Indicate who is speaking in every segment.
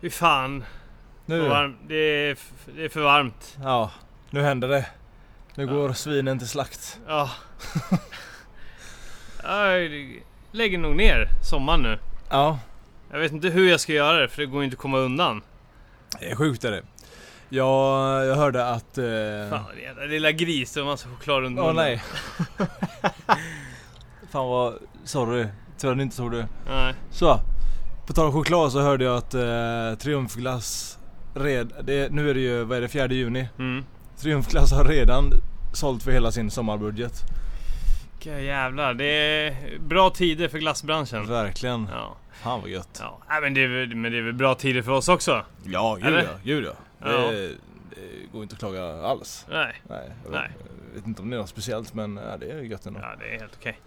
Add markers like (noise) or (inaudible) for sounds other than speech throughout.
Speaker 1: Fy fan. Vad
Speaker 2: Nu,
Speaker 1: varm- Det är, f- det är för varmt.
Speaker 2: ja, nu händer det. Nu
Speaker 1: Ja.
Speaker 2: går svinen till slakt. (laughs)
Speaker 1: Ja. Jag lägger nog ner sommaren nu.
Speaker 2: Ja,
Speaker 1: Jag vet inte hur jag ska göra det för det går ju inte att komma undan.
Speaker 2: det är sjukt är det. Jag, jag hörde att... Eh,
Speaker 1: Fan den jävla lilla grisen och massa choklad under
Speaker 2: Åh
Speaker 1: munnen.
Speaker 2: nej. (laughs) Fan vad... Sorry. Tyvärr inte såg det.
Speaker 1: nej.
Speaker 2: Så. På tal om choklad så hörde jag att eh, Triumfglass... Red, det, nu är det ju, vad är det, 4 juni.
Speaker 1: Mm.
Speaker 2: Triumfglass har redan sålt för hela sin sommarbudget.
Speaker 1: Vilka jävlar. Det är bra tider för glassbranschen.
Speaker 2: Verkligen.
Speaker 1: Ja.
Speaker 2: Fan vad gött.
Speaker 1: Ja. Nej, men, det är, väl- men det är väl bra tider för oss också?
Speaker 2: Ja, gud
Speaker 1: Eller?
Speaker 2: ja. Gud ja.
Speaker 1: Ja.
Speaker 2: Det, det går inte att klaga alls.
Speaker 1: Nej.
Speaker 2: Nej. Jag
Speaker 1: Nej.
Speaker 2: jag vet inte om det är något speciellt men ja, det är gött ändå.
Speaker 1: Ja det är helt okej.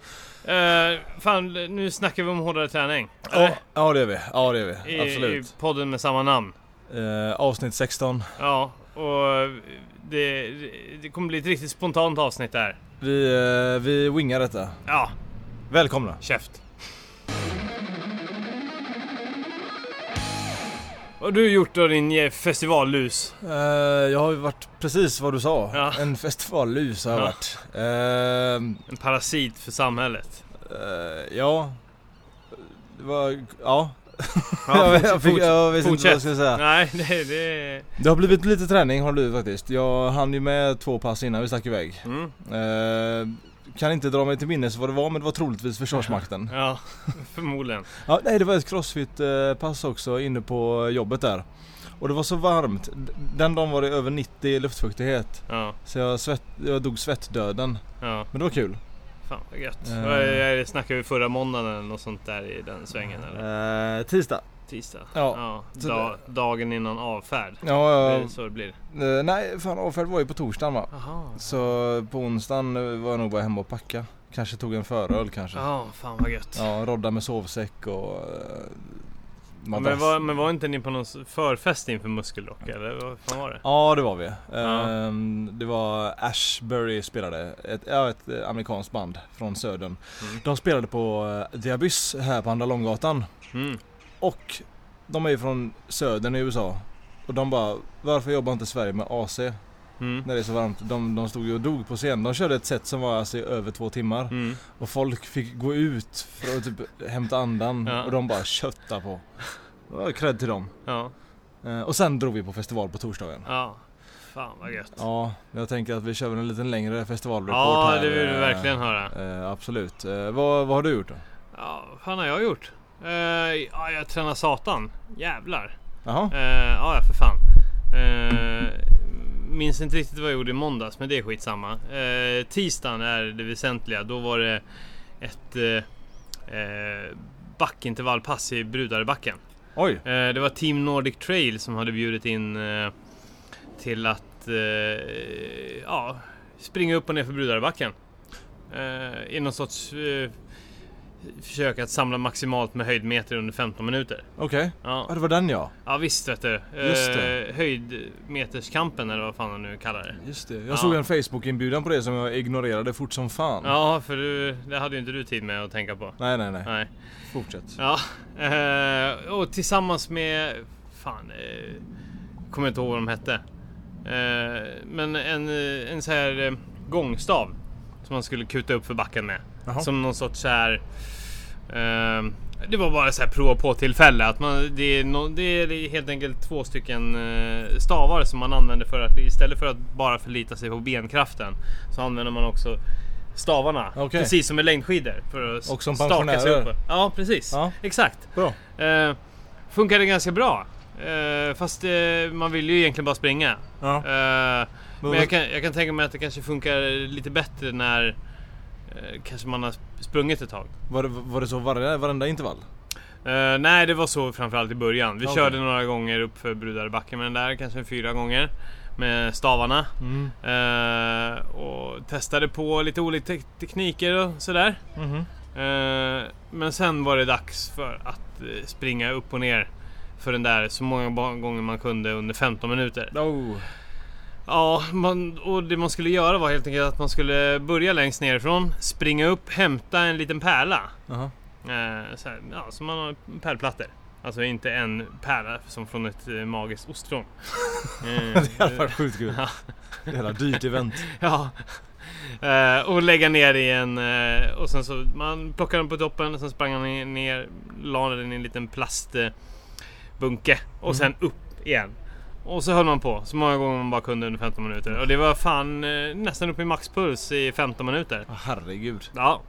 Speaker 1: Eh, fan nu snackar vi om hårdare träning.
Speaker 2: Ja, ja det är vi. Ja det är vi.
Speaker 1: I,
Speaker 2: Absolut.
Speaker 1: I podden med samma namn.
Speaker 2: Eh, avsnitt 16.
Speaker 1: Ja, och det, det kommer bli ett riktigt spontant avsnitt där.
Speaker 2: Vi, eh, vi wingar detta.
Speaker 1: Ja,
Speaker 2: Välkomna!
Speaker 1: käft. Vad har du gjort då din eh, festivallus?
Speaker 2: Eh, jag har ju varit precis vad du sa.
Speaker 1: Ja.
Speaker 2: En festivallus har jag
Speaker 1: Ja.
Speaker 2: varit. Eh,
Speaker 1: En parasit för samhället.
Speaker 2: eh, ja. Det var, (laughs) ja.
Speaker 1: Ja,
Speaker 2: (laughs) jag, jag, fick,
Speaker 1: forts-
Speaker 2: jag vet inte vad
Speaker 1: fortsätt.
Speaker 2: jag ska säga.
Speaker 1: Nej, det... det
Speaker 2: Det har blivit lite träning har det blivit faktiskt. Jag hann ju med två pass innan vi stack iväg.
Speaker 1: mm,
Speaker 2: Eh, kan inte dra mig till minnes vad det var men det var troligtvis Försvarsmakten.
Speaker 1: ja, (laughs) förmodligen.
Speaker 2: Ja, nej det var ett crossfit eh, pass också inne på jobbet där. Och det var så varmt. D- Den dagen var det över 90 i luftfuktighet.
Speaker 1: Ja,
Speaker 2: Så jag, svett, jag dog svettdöden.
Speaker 1: ja.
Speaker 2: Men det var kul.
Speaker 1: Fan vad gött.
Speaker 2: Eh.
Speaker 1: Vad är- är det- Snackade vi förra måndagen eller något sånt där i den svängen eller?
Speaker 2: tisdag.
Speaker 1: Eh, Tisdag?
Speaker 2: ja. Så
Speaker 1: da, dagen innan avfärd.
Speaker 2: Ja,
Speaker 1: Det
Speaker 2: ja.
Speaker 1: är så det blir.
Speaker 2: Eh, nej fan avfärd var ju på torsdagen va.
Speaker 1: Jaha.
Speaker 2: Så på onsdagen eh, var jag nog bara hemma och packa. Kanske tog en föröl kanske.
Speaker 1: Ja, fan vad gött.
Speaker 2: Ja, rodda med sovsäck och eh, madrass.
Speaker 1: Men var, men var inte ni på någon s- förfest inför Muskelrock eller vad fan var det?
Speaker 2: Ja det var vi.
Speaker 1: Ja.
Speaker 2: Ehm, det var Ashbury spelade, ett, ja, ett eh, amerikanskt band från södern.
Speaker 1: Mm.
Speaker 2: De spelade på eh, The Abyss här på Andra Långgatan.
Speaker 1: Mm.
Speaker 2: Och de är ju från södern i USA. Och de bara, varför jobbar inte Sverige med AC
Speaker 1: Mm.
Speaker 2: när det är så varmt? De, de stod ju och dog på scen. De körde ett set som var alltså i över två timmar.
Speaker 1: Mm.
Speaker 2: Och folk fick gå ut för att typ hämta andan.
Speaker 1: Ja.
Speaker 2: Och de bara köttade på. Det var Cred till dem.
Speaker 1: Ja,
Speaker 2: Eh, Och sen drog vi på festival på torsdagen.
Speaker 1: ja. Fan vad gött.
Speaker 2: Ja, jag tänker att vi kör väl en liten längre festivalreport
Speaker 1: Ja,
Speaker 2: här.
Speaker 1: det vill vi
Speaker 2: eh,
Speaker 1: verkligen höra.
Speaker 2: eh, absolut. Eh, vad, vad har du gjort då?
Speaker 1: Ja, vad fan har jag gjort? Eh, ja, jag tränar satan. Jävlar.
Speaker 2: Jaha?
Speaker 1: Eh, ja, ja, för fan. Eh, minns inte riktigt vad jag gjorde i måndags, men det är skitsamma. Uh, tisdagen är det väsentliga. Då var det ett eh, eh, backintervallpass i Brudarebacken.
Speaker 2: Oj!
Speaker 1: Eh, Det var Team Nordic Trail som hade bjudit in eh, till att eh, ja, springa upp och ner för Brudarebacken. Eh, I någon sorts eh, försök att samla maximalt med höjdmeter under 15 minuter.
Speaker 2: Okej. Ja,
Speaker 1: Ja,
Speaker 2: det var den ja.
Speaker 1: ja visst vet du. Eh,
Speaker 2: Just det.
Speaker 1: Höjdmeterskampen eller vad fan han nu kallar det.
Speaker 2: Just det. Jag
Speaker 1: Ja.
Speaker 2: såg en Facebook-inbjudan på det som jag ignorerade fort som fan.
Speaker 1: Ja, för du, det hade ju inte du tid med att tänka på.
Speaker 2: Nej, nej, nej.
Speaker 1: Nej.
Speaker 2: Fortsätt.
Speaker 1: Ja, eh, och tillsammans med... Fan, eh, kommer inte ihåg vad de hette. Eh, men en, eh, en så här eh, gångstav som man skulle kuta upp för backen med.
Speaker 2: Jaha.
Speaker 1: Som någon sorts så här... Eh, det var bara så här prova på tillfälle. Att man, det, är nå- det är helt enkelt två stycken eh, stavar som man använder för att istället för att bara förlita sig på benkraften så använder man också stavarna.
Speaker 2: Okej.
Speaker 1: Precis som med längdskidor. För att
Speaker 2: Och som
Speaker 1: staka sig
Speaker 2: pensionärer.
Speaker 1: upp. Ja, precis.
Speaker 2: Ja.
Speaker 1: Exakt.
Speaker 2: Bra.
Speaker 1: Eh, funkade ganska bra. Eh, fast eh, man vill ju egentligen bara springa.
Speaker 2: Ja.
Speaker 1: Eh, men
Speaker 2: vad-
Speaker 1: jag kan, jag kan tänka mig att det kanske funkar lite bättre när eh, kanske man har sprungit ett tag.
Speaker 2: Var det, var det så varje, varenda intervall?
Speaker 1: Eh, nej, det var så framförallt i början. Vi
Speaker 2: Okej.
Speaker 1: körde några gånger upp för Brudarebacken med den där, kanske fyra gånger. Med stavarna.
Speaker 2: Mm.
Speaker 1: Eh, och testade på lite olika te- tekniker och sådär. Eh, Men sen var det dags för att eh, springa upp och ner för den där så många ba- gånger man kunde under 15 minuter.
Speaker 2: Oh.
Speaker 1: Ja, man, och det man skulle göra var helt enkelt att man skulle börja längst nerifrån, springa upp, hämta en liten pärla.
Speaker 2: Jaha.
Speaker 1: Eh, så här, ja, som man har pärlplattor. Alltså inte en pärla som från ett eh, magiskt ostron. Eh,
Speaker 2: Det hade varit sjukt kul.
Speaker 1: (laughs) Ja.
Speaker 2: Jävla dyrt event.
Speaker 1: (laughs) ja. Eh, och lägga ner i en... eh, och sen så man plockade den på toppen och sen sprang han i- ner, la den i en liten plastbunke och sen upp igen. Och så höll man på så många gånger man bara kunde under 15 minuter. Och det var fan eh, nästan upp i maxpuls i 15 minuter.
Speaker 2: Åh, Herregud.
Speaker 1: Ja.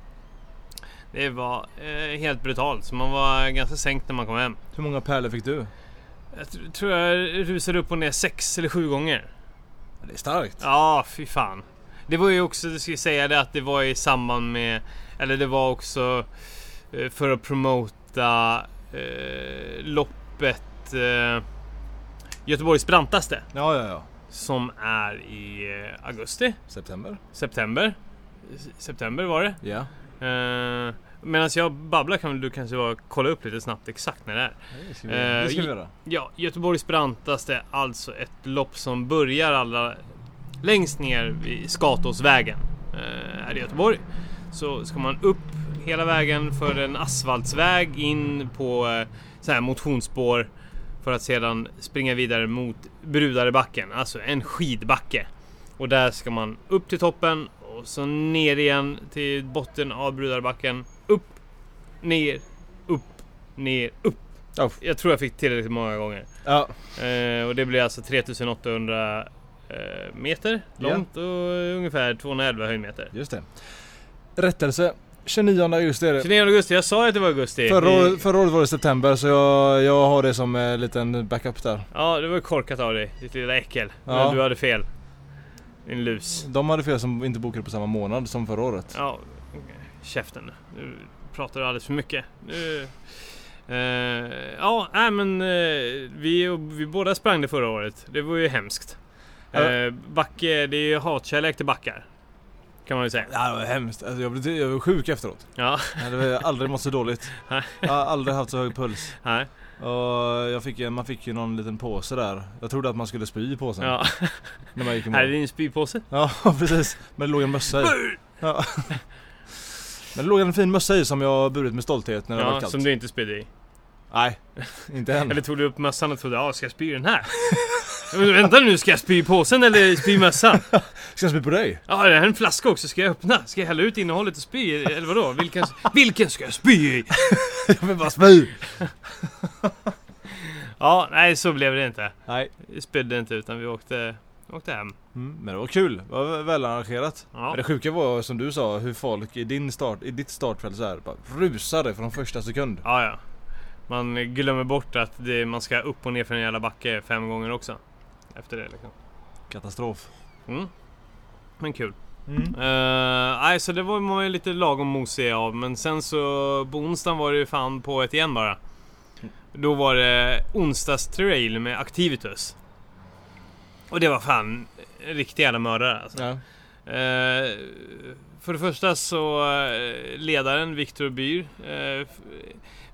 Speaker 1: Det var eh, helt brutalt. Så man var ganska sänkt när man kom hem.
Speaker 2: Hur många pärlor fick du?
Speaker 1: Jag tr- tror jag rusade upp och ner sex eller sju gånger.
Speaker 2: Det är starkt.
Speaker 1: Ja, fy fan. Det var ju också, du skulle säga det, att det var i samband med... Eller det var också eh, för att promota eh, loppet eh, Göteborgs brantaste.
Speaker 2: Ja, ja, ja.
Speaker 1: Som är i eh, augusti,
Speaker 2: September?
Speaker 1: september. S- September var det.
Speaker 2: Ja.
Speaker 1: Eh, Medan jag babblar kan väl du kanske bara kolla upp lite snabbt exakt när det är.
Speaker 2: Det ska
Speaker 1: vi göra.
Speaker 2: vi,
Speaker 1: Eh, i-
Speaker 2: göra.
Speaker 1: Ja, Göteborgs brantaste, alltså ett lopp som börjar allra längst ner vid Skatåsvägen. Eh, är det Göteborg. Så ska man upp hela vägen för en asfaltsväg in på eh, så här motionsspår för att sedan springa vidare mot Brudarebacken, alltså en skidbacke. Och där ska man upp till toppen och så ner igen till botten av Brudarebacken. Upp, ner, upp, ner, upp.
Speaker 2: Ja.
Speaker 1: Jag tror jag fick tillräckligt många gånger.
Speaker 2: Ja.
Speaker 1: Eh, och det blir alltså 3800 eh, meter
Speaker 2: Ja.
Speaker 1: långt och ungefär 211 höjdmeter.
Speaker 2: Just det. Rättelse. 29 augusti är det.
Speaker 1: 29 augusti, jag sa ju att det var augusti.
Speaker 2: Förra,
Speaker 1: I-
Speaker 2: året- förra året var det september så jag, jag har det som en liten backup där.
Speaker 1: Ja, det var ju korkat av dig, ditt lilla äckel.
Speaker 2: Ja.
Speaker 1: Men du hade fel. Din lus.
Speaker 2: De hade fel som inte bokade på samma månad som förra året.
Speaker 1: Ja, käften. Nu pratar du alldeles för mycket. Nu... Eh, ja, nej men eh, vi, vi båda sprang det förra året. Det var ju hemskt.
Speaker 2: Ja.
Speaker 1: Eh, backe, det är ju hatkärlek till backar. Kan man ju säga.
Speaker 2: Ja, det var hemskt. Alltså, jag, blev, jag blev sjuk efteråt.
Speaker 1: Ja, (laughs)
Speaker 2: Jag hade aldrig mått så dåligt.
Speaker 1: Nej.
Speaker 2: Jag har aldrig haft så hög puls.
Speaker 1: nej.
Speaker 2: Och jag fick, ju- man fick ju någon liten påse där. Jag trodde att man skulle spy i påsen
Speaker 1: Ja.
Speaker 2: när man gick i
Speaker 1: Här är
Speaker 2: mål.
Speaker 1: din spypåse.
Speaker 2: Ja (laughs) precis. Men det låg en mössa i. Ja. Men det låg en fin mössa i som jag burit med stolthet när det var
Speaker 1: Ja,
Speaker 2: kallt. Mm.
Speaker 1: som du inte spydde i.
Speaker 2: Nej, inte än.
Speaker 1: Eller tog du upp mössan och trodde, ja ska jag spy i den här? (laughs) Men Vänta nu, ska jag spy i påsen eller spy i mössan?
Speaker 2: Ska jag spy
Speaker 1: (laughs)
Speaker 2: på dig?
Speaker 1: Ja, det här är en flaska också, ska jag öppna? Ska jag hälla ut innehållet och spy i? Eller vadå? Vilken, vilken ska jag spy i?
Speaker 2: Jag vill bara spy!
Speaker 1: Ja, nej så blev det inte.
Speaker 2: Nej.
Speaker 1: Vi spydde inte utan vi åkte, åkte hem.
Speaker 2: Mm, men det var kul. Det var välarrangerat.
Speaker 1: Ja.
Speaker 2: Men det sjuka var som du sa hur folk i, din start, i ditt startfält så här, bara rusade från första sekund.
Speaker 1: Ja, ja. Man glömmer bort att det, man ska upp och ner för en jävla backe fem gånger också. Efter det liksom.
Speaker 2: Katastrof.
Speaker 1: Mm. Men kul.
Speaker 2: Mm.
Speaker 1: Eh, Nej, så det var man ju lite lagom mosig av. Men sen så på onsdagen var det ju fan på ett igen bara. Då var det onsdagstrail med Activitus. Och det var fan en riktig jävla mördare alltså.
Speaker 2: Ja.
Speaker 1: Eh, för det första så eh, ledaren Viktor Byr. eh, f-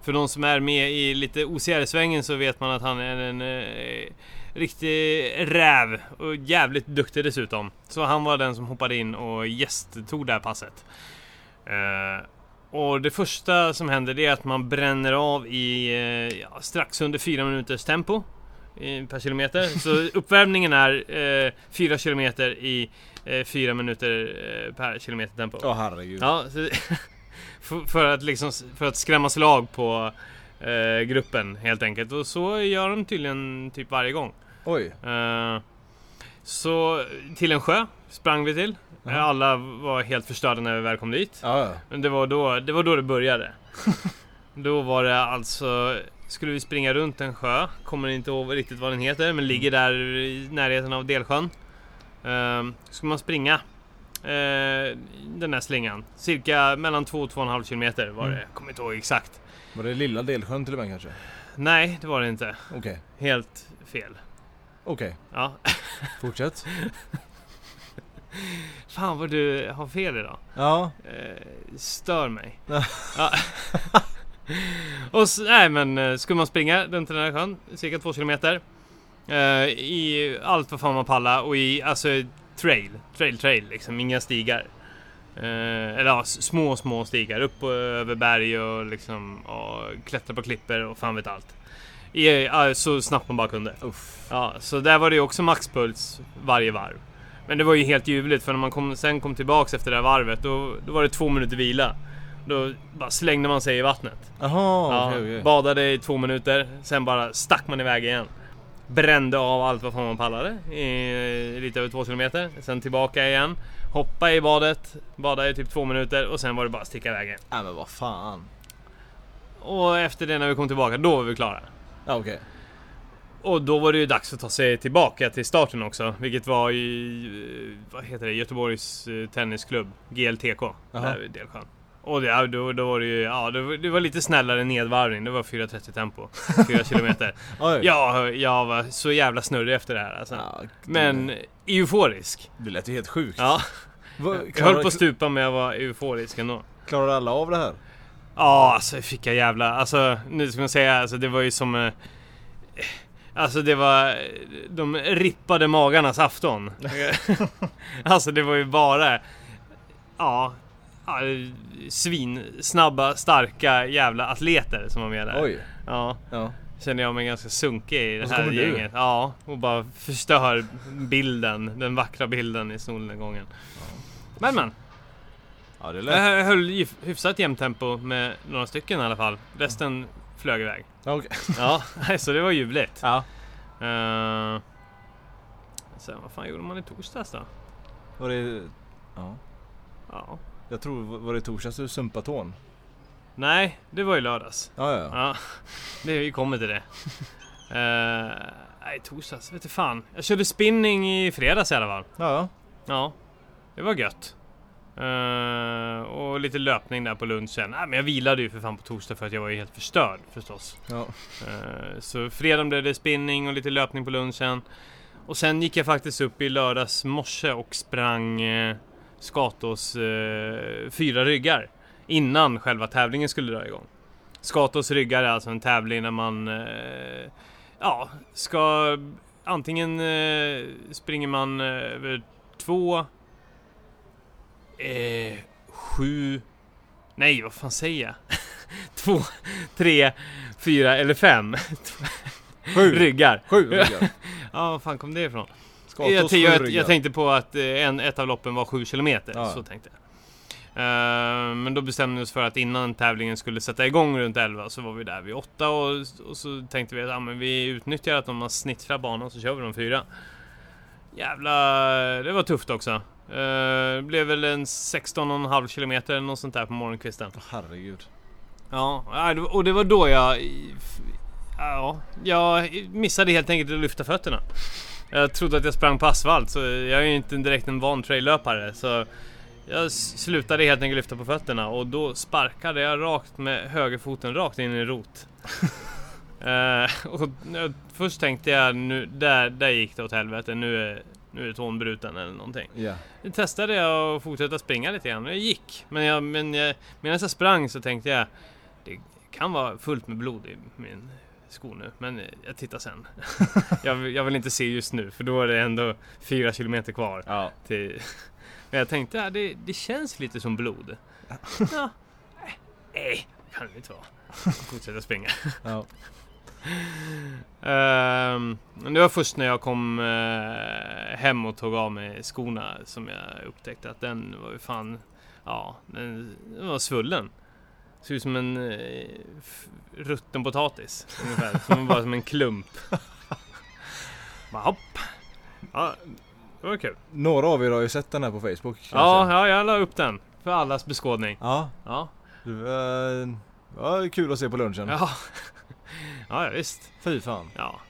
Speaker 1: för de som är med i lite OCR-svängen så vet man att han är en eh, riktig räv och jävligt duktig dessutom. Så han var den som hoppade in och gästtog det här passet. Eh, och det första som händer det är att man bränner av i eh, ja, strax under fyra minuters tempo eh, per kilometer. Så uppvärmningen är eh, fyra kilometer i eh, fyra minuter eh, per kilometer tempo.
Speaker 2: Åh herregud.
Speaker 1: Ja, så, (laughs) för, för, att liksom, för att skrämma slag på eh, gruppen helt enkelt. Och så gör de tydligen typ varje gång.
Speaker 2: Oj.
Speaker 1: Eh, så till en sjö sprang vi till.
Speaker 2: Jaha.
Speaker 1: Alla var helt förstörda när vi väl kom dit.
Speaker 2: Ja, ja.
Speaker 1: Men det var då det, var då det började. då var det alltså, skulle vi springa runt en sjö, kommer inte ihåg riktigt vad den heter, men ligger där i närheten av Delsjön. Ehm, ska man springa eh, den här slingan, cirka mellan 2 och 2,5 kilometer var det,
Speaker 2: Mm.
Speaker 1: jag kommer inte ihåg exakt.
Speaker 2: Var det lilla delsjön till och med kanske?
Speaker 1: Nej, det var det inte.
Speaker 2: Okej.
Speaker 1: Helt fel.
Speaker 2: Okej.
Speaker 1: Ja. (clears throat)
Speaker 2: Fortsätt.
Speaker 1: Fan vad du har fel idag.
Speaker 2: Ja.
Speaker 1: Eh, stör mig.
Speaker 2: Ja.
Speaker 1: ja. (laughs) och så, nej men eh, skulle man springa runt den här sjön, cirka två kilometer. Eh, I allt vad fan man pallar och i alltså trail, trail, trail liksom, inga stigar. Eh, eller ja, s- små, små stigar upp och över berg och liksom och klättra på klippor och fan vet allt. I, ja, så snabbt man bara kunde.
Speaker 2: Uff.
Speaker 1: Ja, så där var det ju också maxpuls varje varv. Men det var ju helt ljuvligt för när man kom, sen kom tillbaks efter det här varvet då, då var det två minuter vila. Då bara slängde man sig i vattnet.
Speaker 2: Jaha,
Speaker 1: Ja,
Speaker 2: okej okej.
Speaker 1: Badade i två minuter, sen bara stack man iväg igen. Brände av allt vad fan man pallade i lite över två kilometer. Sen tillbaka igen. Hoppa i badet, bada i typ två minuter och sen var det bara att sticka iväg igen.
Speaker 2: Nej men vad fan.
Speaker 1: Och efter det när vi kom tillbaka, då var vi klara.
Speaker 2: Ja okej.
Speaker 1: Och då var det ju dags att ta sig tillbaka till starten också, vilket var i eh, vad heter det, Göteborgs eh, Tennisklubb, GLTK, där vid Delsjön. Och det, då, då var det ju, ja det var, det var lite snällare nedvarvning, det var 4.30
Speaker 2: (laughs)
Speaker 1: tempo, 4 kilometer.
Speaker 2: Oj.
Speaker 1: Ja, jag var så jävla snurrig efter det här alltså.
Speaker 2: Ja, det-
Speaker 1: Men euforisk.
Speaker 2: Det lät ju helt sjukt.
Speaker 1: Ja, jag
Speaker 2: Va,
Speaker 1: höll på
Speaker 2: klarar,
Speaker 1: att stupa men jag var euforisk ändå.
Speaker 2: klarar alla av det här?
Speaker 1: Ja, alltså fick jag jävla... Alltså nu ska man säga, alltså det var ju som... Eh, alltså det var eh, de rippade magarnas
Speaker 2: (laughs)
Speaker 1: afton. alltså det var ju bara... Ja, ja svin, snabba, starka jävla atleter som var med där.
Speaker 2: Oj.
Speaker 1: Ja,
Speaker 2: Ja.
Speaker 1: kände jag mig ganska sunkig i det
Speaker 2: Och så
Speaker 1: här
Speaker 2: kommer du.
Speaker 1: gänget. Ja, och bara förstör bilden, den vackra bilden i solnedgången. Men men.
Speaker 2: Ja det lät...
Speaker 1: Jag höll hyf- hyfsat jämnt tempo med några stycken i alla fall. Resten flög iväg.
Speaker 2: Ja, okej.
Speaker 1: Ja, (laughs) så det var ljuvligt.
Speaker 2: Ja.
Speaker 1: Eh, sen vad fan gjorde man i torsdags då?
Speaker 2: Var det... Ja.
Speaker 1: Ja.
Speaker 2: Jag tror, var det i torsdags du sumpade tån?
Speaker 1: Nej, det var ju lördags.
Speaker 2: Ja, ja, ja.
Speaker 1: Ja, (laughs) det, vi kommer till det. Eh, nej, torsdags vet du fan. Jag körde spinning i fredags i alla fall.
Speaker 2: ja, ja.
Speaker 1: Ja, det var gött. Eh, och lite löpning där på lunchen. Nej, men jag vilade ju för fan på torsdag för att jag var ju helt förstörd förstås.
Speaker 2: ja.
Speaker 1: Eh, Så fredag blev det spinning och lite löpning på lunchen. Och sen gick jag faktiskt upp i lördags morse och sprang eh, Skatos eh, fyra ryggar. Innan själva tävlingen skulle dra igång. Skatos ryggar är alltså en tävling när man eh, ja, ska antingen eh, springer man eh, över två, eh, sju, nej vad fan säger jag? (laughs) två, tre, fyra eller fem
Speaker 2: (laughs) Sju!
Speaker 1: ryggar.
Speaker 2: Sju ryggar.
Speaker 1: Ja, var fan kom det ifrån?
Speaker 2: Skatos
Speaker 1: jag,
Speaker 2: sju
Speaker 1: jag,
Speaker 2: ryggar.
Speaker 1: jag tänkte på att eh, en, ett av loppen var 7 kilometer,
Speaker 2: Ja.
Speaker 1: så tänkte jag. Eh, men då bestämde vi oss för att innan tävlingen skulle sätta igång runt 11 så var vi där vid 8 och, och så tänkte vi att ah, men vi utnyttjar att de har snittrat banan så kör vi de fyra. Jävla, det var tufft också. Eh, det blev väl en 16,5 kilometer eller något sånt där på morgonkvisten.
Speaker 2: Åh, Herregud.
Speaker 1: Ja, ja, det- och det var då jag... Ja, jag missade helt enkelt att lyfta fötterna. Jag trodde att jag sprang på asfalt, så jag är ju inte direkt en van trail-löpare. Så jag s- slutade helt enkelt lyfta på fötterna och då sparkade jag rakt med högerfoten rakt in i rot. Eh, och jag, först tänkte jag nu, där, där gick det åt helvete, nu är, nu är tån bruten eller någonting.
Speaker 2: Ja.
Speaker 1: Nu testade jag att fortsätta springa lite grann. Jag gick. Men, jag, men jag, medan jag sprang så tänkte jag det kan vara fullt med blod i min sko nu. Men jag tittar sen. (laughs) jag, vill- jag vill inte se just nu för då är det ändå fyra kilometer kvar.
Speaker 2: Ja.
Speaker 1: Till... (laughs) Men jag tänkte ja, det, det känns lite som blod. ja. Nej, kan det inte vara. Fortsätta springa.
Speaker 2: Ja.
Speaker 1: Ehm, men det var först när jag kom eh, hem och tog av mig skorna som jag upptäckte att den var ju fan, ja, den var svullen. Såg ut som en uh, rutten potatis ungefär, som var som en klump. Bara hopp. Ja, det var kul.
Speaker 2: Några av er har ju sett den här på Facebook. kanske.
Speaker 1: Ja, ja, jag la upp den för allas beskådning.
Speaker 2: Ja.
Speaker 1: Ja,
Speaker 2: Du, eh, ja, kul att se på lunchen.
Speaker 1: ja. (laughs) ja visst.
Speaker 2: Fy fan.
Speaker 1: Ja.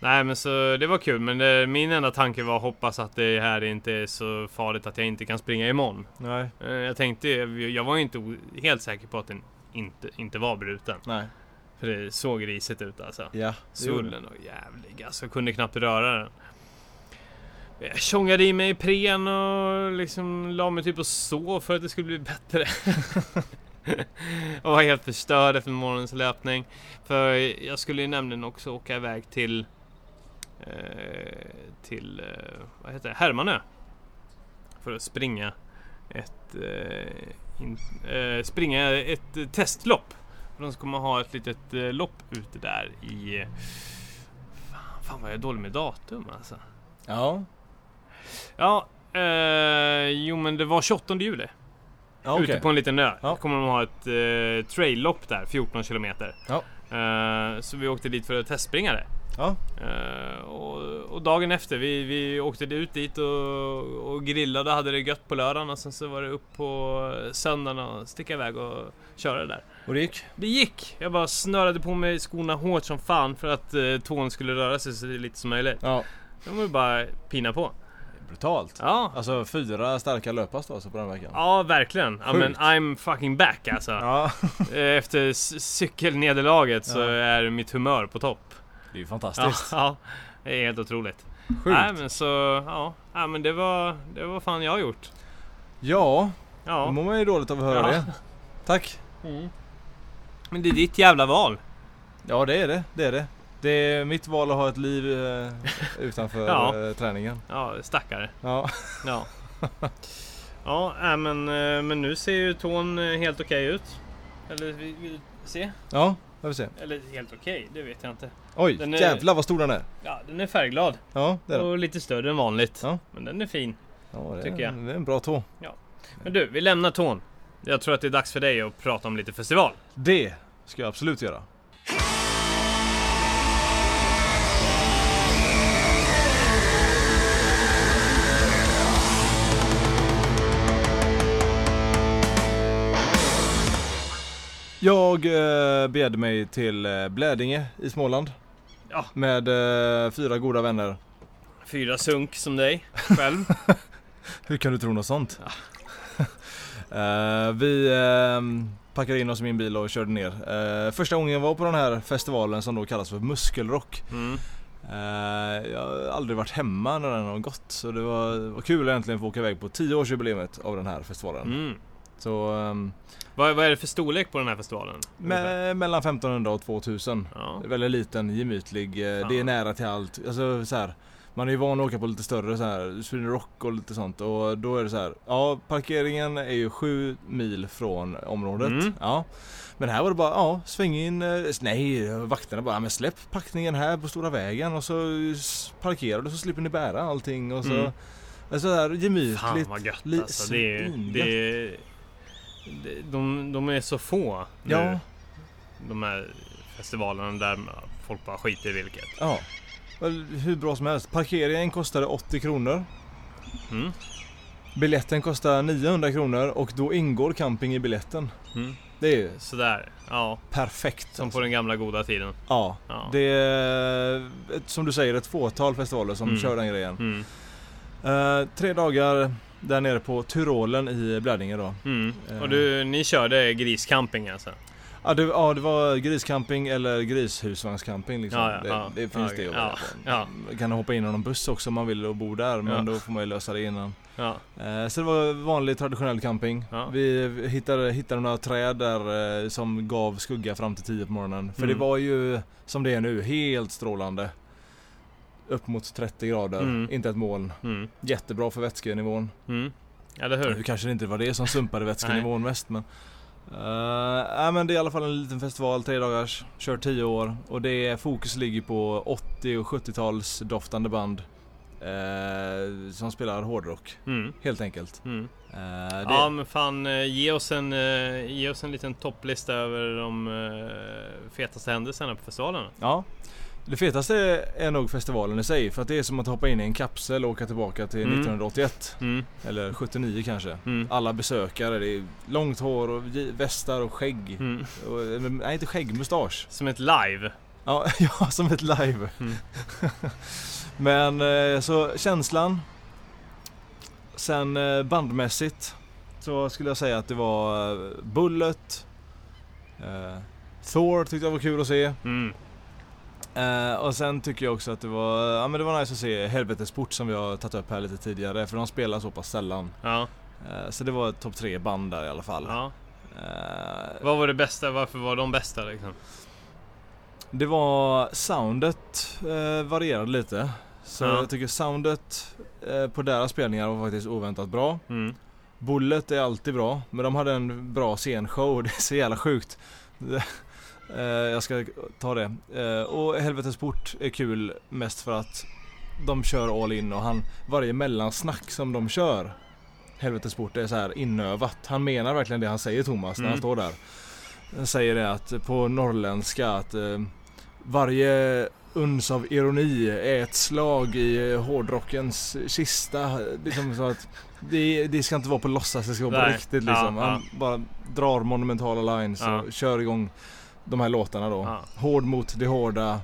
Speaker 1: Nej men så det var kul men det, min enda tanke var att hoppas att det här inte är så farligt att jag inte kan springa imorgon.
Speaker 2: Nej.
Speaker 1: Eh, Jag tänkte, jag var ju inte o- helt säker på att den inte, inte var bruten.
Speaker 2: Nej.
Speaker 1: För det såg risigt ut alltså.
Speaker 2: Ja. det gjorde
Speaker 1: Svullen och jävlig alltså, jag kunde knappt röra den. Jag tjongade i mig Ipren och liksom la mig typ och sov för att det skulle bli bättre. (laughs) och var helt förstörd efter morgonens löpning. För jag skulle ju nämligen också åka iväg till eh, till eh, vad heter det? Hermanö. För att springa ett eh, in, eh, springa ett eh, testlopp För de kommer ha ett litet eh, lopp ute där i... Fan, fan vad jag är dålig med datum alltså.
Speaker 2: Ja.
Speaker 1: Ja, eh, jo men det var 28 juli.
Speaker 2: Ja, okej.
Speaker 1: Ute på en liten ö.
Speaker 2: Ja.
Speaker 1: kommer de ha ett eh, trail-lopp där, 14 kilometer.
Speaker 2: Ja.
Speaker 1: Eh, så vi åkte dit för att testspringa det.
Speaker 2: Ja.
Speaker 1: Eh, och, och dagen efter, vi, vi åkte ut dit och, och grillade och hade det gött på lördagen och sen så var det upp på söndagen och sticka iväg och köra det där.
Speaker 2: Och det gick?
Speaker 1: Det gick! Jag bara snörade på mig skorna hårt som fan för att eh, tån skulle röra sig så lite som möjligt.
Speaker 2: Ja.
Speaker 1: De var ju bara pina på.
Speaker 2: Brutalt.
Speaker 1: Ja,
Speaker 2: Alltså fyra starka löppass då alltså på den veckan.
Speaker 1: ja verkligen. Ja, men
Speaker 2: Sjukt.
Speaker 1: I'm fucking back alltså.
Speaker 2: Ja.
Speaker 1: Eh, Efter c- cykelnederlaget så
Speaker 2: Ja.
Speaker 1: är mitt humör på topp.
Speaker 2: Det är ju
Speaker 1: Ja,
Speaker 2: fantastiskt.
Speaker 1: ja, det är helt otroligt. Nej
Speaker 2: Sjukt.
Speaker 1: men så, ja. Nej men det var, det var fan jag har gjort.
Speaker 2: Ja, då
Speaker 1: Ja.
Speaker 2: mår man ju dåligt av att
Speaker 1: Ja. (laughs)
Speaker 2: höra
Speaker 1: Mm.
Speaker 2: det. Tack.
Speaker 1: Men det är ditt jävla val.
Speaker 2: Ja, det är det. Det är det. Det är mitt val att ha ett liv eh,
Speaker 1: (laughs)
Speaker 2: utanför
Speaker 1: Ja.
Speaker 2: eh, träningen.
Speaker 1: Ja, stackare.
Speaker 2: Ja.
Speaker 1: Ja.
Speaker 2: (laughs)
Speaker 1: ja, nej, men, eh, men nu ser ju tån eh, helt okej ut. Eller vi, vi se.
Speaker 2: Ja, jag får se.
Speaker 1: Eller helt okej, det vet jag inte.
Speaker 2: Oj,
Speaker 1: Den är-
Speaker 2: jävlar vad stor den är.
Speaker 1: Ja, den är färgglad
Speaker 2: Ja, det är den.
Speaker 1: och lite större än vanligt.
Speaker 2: Ja.
Speaker 1: Men den är fin.
Speaker 2: Ja, det är,
Speaker 1: tycker jag.
Speaker 2: Det är en bra tå.
Speaker 1: Men du, vi lämnar tån. Jag tror att det är dags för dig att prata om lite festival.
Speaker 2: Det ska jag absolut göra. Jag eh, begärde mig till eh, Blädinge i Småland.
Speaker 1: Ja.
Speaker 2: Med eh, fyra goda vänner.
Speaker 1: Fyra sunk som dig, själv.
Speaker 2: Hur kan du tro något sånt? (laughs) Eh, vi eh, packade in oss i min bil och körde ner. Eh, första gången jag var på den här festivalen som då kallas för Muskelrock.
Speaker 1: (laughs) Mm.
Speaker 2: Eh, jag har aldrig varit hemma när den har gått. Så det var, var kul att äntligen få åka iväg på 10-årsjubileet av den här festivalen.
Speaker 1: Mm.
Speaker 2: Så ehm,
Speaker 1: Vad, vad är det för storlek på den här festivalen? Ungefär.
Speaker 2: me- mellan 1500 och 2000.
Speaker 1: Ja.
Speaker 2: Väldigt liten, gemytlig. eh, Det
Speaker 1: Ja.
Speaker 2: är nära till allt. Alltså, så här, man är ju van att åka på lite större så här, Sweden Rock och lite sånt. Och då är det så här. Ja, parkeringen är ju sju mil från området.
Speaker 1: Mm.
Speaker 2: Ja. Men här var det bara, ja, sväng in. eh, Nej, vakterna bara, "Ja, men släpp packningen här på stora vägen och så s- parkerar du så slipper ni bära allting. Och så,
Speaker 1: Mm.
Speaker 2: alltså, så här, gemytligt.
Speaker 1: Fan vad gött
Speaker 2: li-
Speaker 1: alltså. Det är,
Speaker 2: svingött.
Speaker 1: det är, det- de, de är så få nu.
Speaker 2: Ja.
Speaker 1: De här festivalerna där folk bara skiter i vilket.
Speaker 2: Ja. Väl, Hur bra som helst. Parkeringen kostade 80 kronor.
Speaker 1: Mm.
Speaker 2: Biljetten kostar 900 kronor och då ingår camping i biljetten.
Speaker 1: Mm.
Speaker 2: Det är ju
Speaker 1: Sådär. Ja,
Speaker 2: perfekt.
Speaker 1: som på den gamla goda tiden.
Speaker 2: Ja.
Speaker 1: Ja.
Speaker 2: Det är ett- som du säger ett fåtal festivaler som
Speaker 1: Mm.
Speaker 2: kör den grejen.
Speaker 1: Mm.
Speaker 2: Eh, tre dagar där nere på Tyrolen i Blädinge då.
Speaker 1: Mm.
Speaker 2: Eh.
Speaker 1: Och du, ni körde griscamping alltså?
Speaker 2: Ja det, ja, det var griscamping eller grishusvagnscamping liksom.
Speaker 1: Ja, ja,
Speaker 2: det,
Speaker 1: ja.
Speaker 2: det finns
Speaker 1: Ja,
Speaker 2: det att
Speaker 1: ja,
Speaker 2: välja på.
Speaker 1: ja.
Speaker 2: Man Kan hoppa in i någon buss också om man vill och bo där men
Speaker 1: Ja.
Speaker 2: då får man ju lösa det innan.
Speaker 1: Ja.
Speaker 2: Eh, Så det var vanlig traditionell camping.
Speaker 1: Ja.
Speaker 2: Vi hittade, hittade några träd där eh, som gav skugga fram till 10 på morgonen. För
Speaker 1: Mm.
Speaker 2: det var ju som det är nu, helt strålande. Upp mot 30 grader,
Speaker 1: Mm.
Speaker 2: inte ett moln.
Speaker 1: Mm.
Speaker 2: Jättebra för vätskenivån.
Speaker 1: Mm. Eller hur?
Speaker 2: Nu kanske det inte var det som sumpade vätskenivån mest men. Eh, nej, men det är i alla fall en liten festival, tre dagars. Kör 10 år och det är, fokus ligger på 80 och 70-tals doftande band. eh, som spelar hårdrock,
Speaker 1: Mm.
Speaker 2: helt enkelt.
Speaker 1: Mm.
Speaker 2: Eh, det,
Speaker 1: Ja men fan, eh, ge oss en, eh, ge oss en liten topplista över de eh, fetaste händelserna på festivalen.
Speaker 2: ja. Det fetaste är nog festivalen i sig för att det är som att hoppa in i en kapsel och åka tillbaka till
Speaker 1: Mm.
Speaker 2: 1981
Speaker 1: Mm.
Speaker 2: eller 79 kanske.
Speaker 1: Mm.
Speaker 2: Alla besökare, det är långt hår och gi- västar och skägg.
Speaker 1: Mm.
Speaker 2: Och, eh, men- nej inte skägg, mustasch.
Speaker 1: Som ett live.
Speaker 2: Ja, (laughs) ja som ett live.
Speaker 1: Mm.
Speaker 2: (laughs) men eh, så känslan. Sen eh, bandmässigt så skulle jag säga att det var eh, Bullet. Eh, Thor tyckte jag var kul att se.
Speaker 1: Mm.
Speaker 2: Eh, och sen tycker jag också att det var, ja, men det var nice att se Helvetesport som vi har tagit upp här lite tidigare för de spelar så pass sällan.
Speaker 1: Ja.
Speaker 2: Eh, så det var ett topp tre band där i alla fall.
Speaker 1: ja.
Speaker 2: Eh,
Speaker 1: Vad var det bästa? Varför var de bästa liksom?
Speaker 2: det var soundet eh, varierade lite. Så
Speaker 1: Ja.
Speaker 2: jag tycker soundet eh, på deras spelningar var faktiskt oväntat bra.
Speaker 1: Mm.
Speaker 2: (laughs) Bullet är alltid bra men de hade en bra scenshow, det är så jävla sjukt. Eh, jag ska ta det. Eh, och Helvetes port är kul mest för att de kör all in och han, varje mellansnack som de kör Helvetes port är så här inövat. Han menar verkligen det han säger Thomas när han
Speaker 1: Mm.
Speaker 2: står där. Han säger det att på norrländska att eh, varje uns av ironi är ett slag i eh, hårdrockens kista. Liksom så att det, det ska inte vara på låtsas, det ska vara på
Speaker 1: Nej.
Speaker 2: riktigt
Speaker 1: Ja,
Speaker 2: liksom.
Speaker 1: ja.
Speaker 2: Han bara drar monumentala lines
Speaker 1: Ja.
Speaker 2: och kör igång de här låtarna då.
Speaker 1: Ja.
Speaker 2: Hård mot det hårda,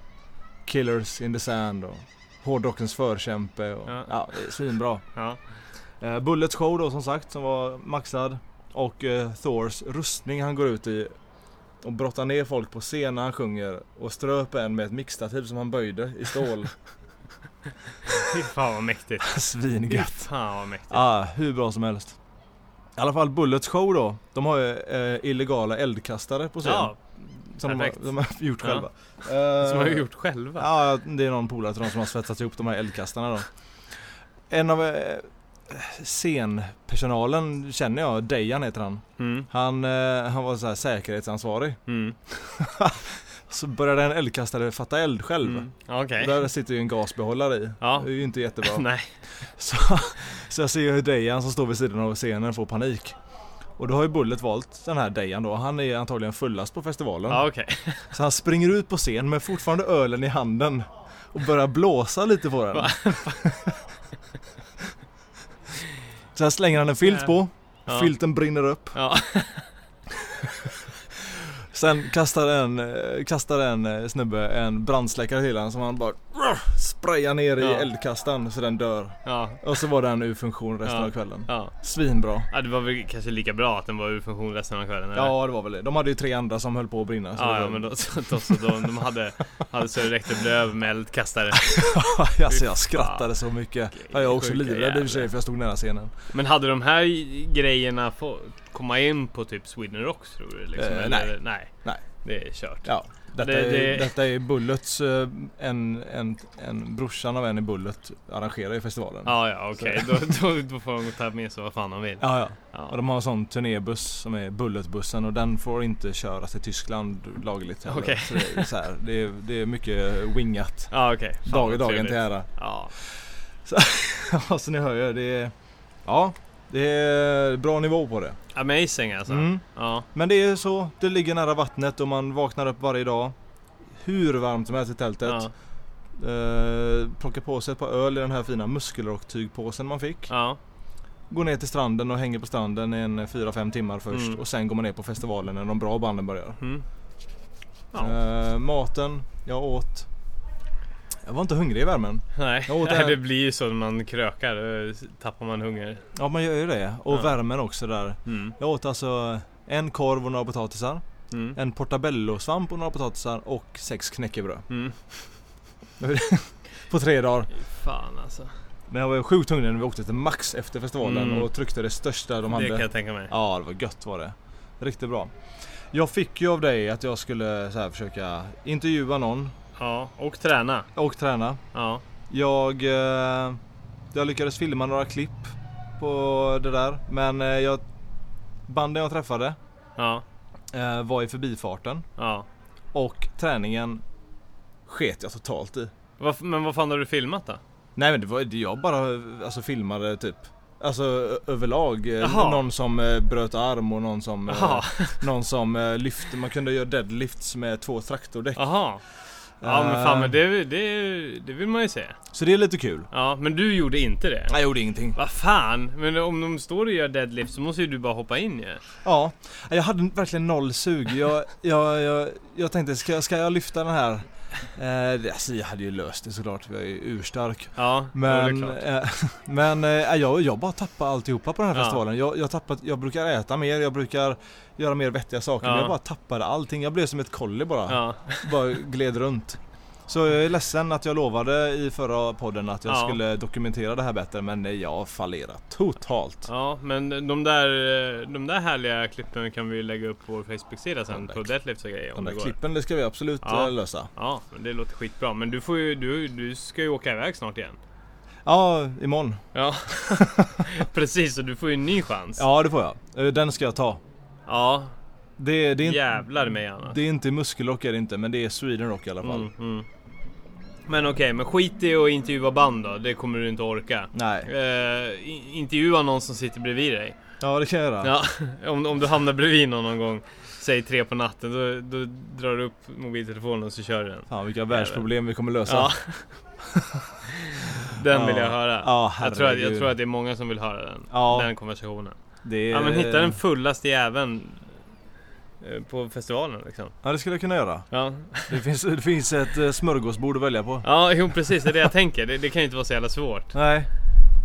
Speaker 2: Killers in the sand och Hårdrockens förkämpe. Och, ja.
Speaker 1: Ja.
Speaker 2: det är svinbra.
Speaker 1: Ja.
Speaker 2: Eh, Bullets show då som sagt som var maxad. Och eh, Thors rustning han går ut i. Och brottar ner folk på scen när han sjunger. Och ströp en med ett mixtativ som han böjde i stål.
Speaker 1: Fy fan vad mäktigt. Fy
Speaker 2: Svingött.
Speaker 1: fan vad mäktigt.
Speaker 2: Ah, hur bra som helst. I alla fall Bullets show då. De har ju eh, illegala eldkastare på scen.
Speaker 1: Ja,
Speaker 2: som de har,
Speaker 1: perfekt.
Speaker 2: de har (laughs) gjort
Speaker 1: Ja.
Speaker 2: själva.
Speaker 1: (laughs) som har
Speaker 2: Eh,
Speaker 1: vi gjort själva.
Speaker 2: Ja, det är någon polare till dem som har svetsat ihop de här eldkastarna då. En av eh, scenpersonalen känner jag, Dejan heter han.
Speaker 1: Mm.
Speaker 2: Han, eh, han var så här säkerhetsansvarig.
Speaker 1: Mm.
Speaker 2: Så började en eldkastare fatta eld själv.
Speaker 1: Mm. Okej.
Speaker 2: Där sitter ju en gasbehållare i.
Speaker 1: Ja.
Speaker 2: Det är ju inte jättebra.
Speaker 1: Nej.
Speaker 2: (laughs) Så, så jag ser ju hur Dejan som står vid sidan av scenen får panik. Och då har ju Bullet valt den här Dejan då. Han är antagligen fullast på festivalen.
Speaker 1: Ja, okej.
Speaker 2: Så han springer ut på scen med fortfarande ölen i handen och börjar blåsa lite på den. (laughs)
Speaker 1: Va?
Speaker 2: Sen slänger han en filt på,
Speaker 1: Ja.
Speaker 2: filten brinner upp.
Speaker 1: Ja.
Speaker 2: Sen kastar en, eh, kastar en eh, snubbe en brandsläckare till honom som han bara ruff, sprayar ner i
Speaker 1: Ja.
Speaker 2: eldkastaren så den dör.
Speaker 1: Ja.
Speaker 2: Och så var den ur funktion resten
Speaker 1: Ja.
Speaker 2: av kvällen.
Speaker 1: Ja.
Speaker 2: Svinbra.
Speaker 1: ja, det var väl kanske lika bra att den var ur funktion resten av kvällen? eller?
Speaker 2: Ja det var väl det. De hade ju tre andra som höll på att brinna. så det
Speaker 1: Ja,
Speaker 2: var-
Speaker 1: ja men då, (laughs) så, då, så, de, de hade, hade så det räckte blöv med eldkastare.
Speaker 2: (laughs) alltså, jag skrattade så mycket. Ja, jag var också
Speaker 1: Sjuka
Speaker 2: livrädd i och för sig
Speaker 1: jävlar.
Speaker 2: för jag stod nära scenen.
Speaker 1: Men hade de här grejerna fått komma in på typ Sweden Rocks tror du? Liksom,
Speaker 2: Eh,
Speaker 1: eller-
Speaker 2: nej.
Speaker 1: nej.
Speaker 2: Nej.
Speaker 1: Det är kört.
Speaker 2: Ja, detta,
Speaker 1: Det- det-
Speaker 2: Är, detta är Bullets, eh, en, en, en brorsan av en i Bullet arrangerar i festivalen.
Speaker 1: Ja, ja okej. Då, då, då får de ta med sig vad fan de vill.
Speaker 2: ja, ja. Och
Speaker 1: Ja.
Speaker 2: de har en sån turnébuss som är Bulletbussen och den får inte köras i Tyskland lagligt heller.
Speaker 1: Okej.
Speaker 2: Så det, är så här, det, är, det är mycket wingat.
Speaker 1: Ja, okej. Fan,
Speaker 2: Dag i
Speaker 1: vad
Speaker 2: dagen
Speaker 1: trevligt.
Speaker 2: till ära. (laughs)
Speaker 1: Ja.
Speaker 2: Ja, så ni hör ju. Det är, ja, det är bra nivå på det.
Speaker 1: Amazing alltså.
Speaker 2: Mm.
Speaker 1: Ja.
Speaker 2: Men det är så. Det ligger nära vattnet och man vaknar upp varje dag. Hur varmt som helst i tältet.
Speaker 1: Ja.
Speaker 2: Eh, plockar på sig ett par öl i den här fina muskelrocktygpåsen man fick.
Speaker 1: ja.
Speaker 2: Går ner till stranden och hänger på stranden i en 4-5 timmar först.
Speaker 1: Mm.
Speaker 2: Och sen går man ner på festivalen när de bra banden börjar.
Speaker 1: Mm. Ja.
Speaker 2: Eh, maten, jag åt. Jag var inte hungrig i värmen.
Speaker 1: Nej,
Speaker 2: Jag åt
Speaker 1: Nej,
Speaker 2: en-
Speaker 1: det blir ju så när man krökar. Då tappar man hunger.
Speaker 2: Ja man gör ju det. Och
Speaker 1: Ja.
Speaker 2: värmen också där.
Speaker 1: Mm.
Speaker 2: Jag åt alltså en korv och några potatisar.
Speaker 1: Mm.
Speaker 2: En portabellosvamp och några potatisar och sex knäckebröd.
Speaker 1: Mm.
Speaker 2: På tre dagar.
Speaker 1: Fan alltså.
Speaker 2: Men jag var sjukt hungrig när vi åkte till Max efter festivalen
Speaker 1: Mm.
Speaker 2: och tryckte det största de
Speaker 1: det
Speaker 2: hade.
Speaker 1: kan jag tänka mig.
Speaker 2: Ja, det var gött var det. Riktigt bra. Jag fick ju av dig att jag skulle så här försöka intervjua någon
Speaker 1: Ja, och träna.
Speaker 2: och träna.
Speaker 1: Ja.
Speaker 2: Jag, eh, jag lyckades filma några klipp på det där. Men eh, jag, banden jag träffade
Speaker 1: Ja.
Speaker 2: eh, var i förbifarten.
Speaker 1: Ja.
Speaker 2: Och träningen sket jag totalt i.
Speaker 1: Varf- men vad fan har du filmat då?
Speaker 2: Nej men det var det jag bara alltså, filmade typ. Alltså ö- överlag. eh,
Speaker 1: Jaha.
Speaker 2: Någon som eh, bröt arm och någon som, eh,
Speaker 1: Jaha.
Speaker 2: någon som eh, lyfte. Man kunde göra deadlifts med två traktordäck.
Speaker 1: Jaha. Ja men
Speaker 2: Eh,
Speaker 1: fan men det, det, det vill man ju se.
Speaker 2: Så det är lite kul.
Speaker 1: Ja men du gjorde inte det.
Speaker 2: Jag gjorde ingenting.
Speaker 1: Vad fan? Men om de står och gör deadlift så måste ju du bara hoppa in ju.
Speaker 2: Ja, jag hade verkligen noll sug. Jag, jag, jag, jag tänkte, ska, ska jag lyfta den här? Eh, det- alltså, jag hade ju löst det såklart, jag är ju urstark.
Speaker 1: Ja,
Speaker 2: Men,
Speaker 1: det är klart.
Speaker 2: eh, (laughs) men eh, jag, jag bara tappade alltihopa på den här
Speaker 1: Ja.
Speaker 2: festivalen. Jag, jag, tappat, jag brukar äta mer, jag brukar göra mer vettiga saker. Men
Speaker 1: Ja.
Speaker 2: jag bara tappade allting. Jag blev som ett kolli bara.
Speaker 1: Ja,
Speaker 2: Bara gled runt. Så jag är ledsen att jag lovade i förra podden att jag
Speaker 1: Ja.
Speaker 2: skulle dokumentera det här bättre. Men eh, jag har fallerat totalt.
Speaker 1: ja, men de där, eh, de där härliga klippen kan vi ju lägga upp på vår Facebook-sida sen
Speaker 2: De där
Speaker 1: på deadlifts och grejer
Speaker 2: De
Speaker 1: om det
Speaker 2: där
Speaker 1: går.
Speaker 2: klippen, det ska vi absolut
Speaker 1: Ja.
Speaker 2: eh, lösa.
Speaker 1: Ja, men det låter skitbra. Men du får ju, du, du ska ju åka iväg snart igen.
Speaker 2: Ja, imorgon. (laughs)
Speaker 1: Ja, precis. Och du får ju en ny chans.
Speaker 2: Ja, det får jag. Eh, Den ska jag ta.
Speaker 1: Ja,
Speaker 2: Det, det, är, inte-
Speaker 1: Jävlar mig annars.
Speaker 2: det är inte muskelrock är det inte, men det är Sweden Rock i alla fall.
Speaker 1: Mm, mm. Men okej, men skit i att intervjua band då. Det kommer du inte orka.
Speaker 2: Nej.
Speaker 1: Eh, i- intervjua någon som sitter bredvid dig.
Speaker 2: Ja, det kan jag göra.
Speaker 1: Ja, (laughs) om, om du hamnar bredvid någon någon gång, säg tre på natten, då, då drar du upp mobiltelefonen och så kör du den.
Speaker 2: Fan vilka världsproblem vi kommer lösa.
Speaker 1: Ja. den vill
Speaker 2: Ja.
Speaker 1: jag höra.
Speaker 2: Ja,
Speaker 1: jag, tror att, jag
Speaker 2: herregud.
Speaker 1: tror att det är många som vill höra den,
Speaker 2: Ja. Eh.
Speaker 1: den konversationen.
Speaker 2: Det är...
Speaker 1: Ja men hitta den fullaste jäveln eh, på festivalen liksom.
Speaker 2: Ja, det skulle jag kunna göra.
Speaker 1: Ja,
Speaker 2: Det finns, det finns ett eh, smörgåsbord att välja på.
Speaker 1: ja jo, precis det är det jag tänker. Det, det kan ju inte vara så jävla svårt.
Speaker 2: Nej,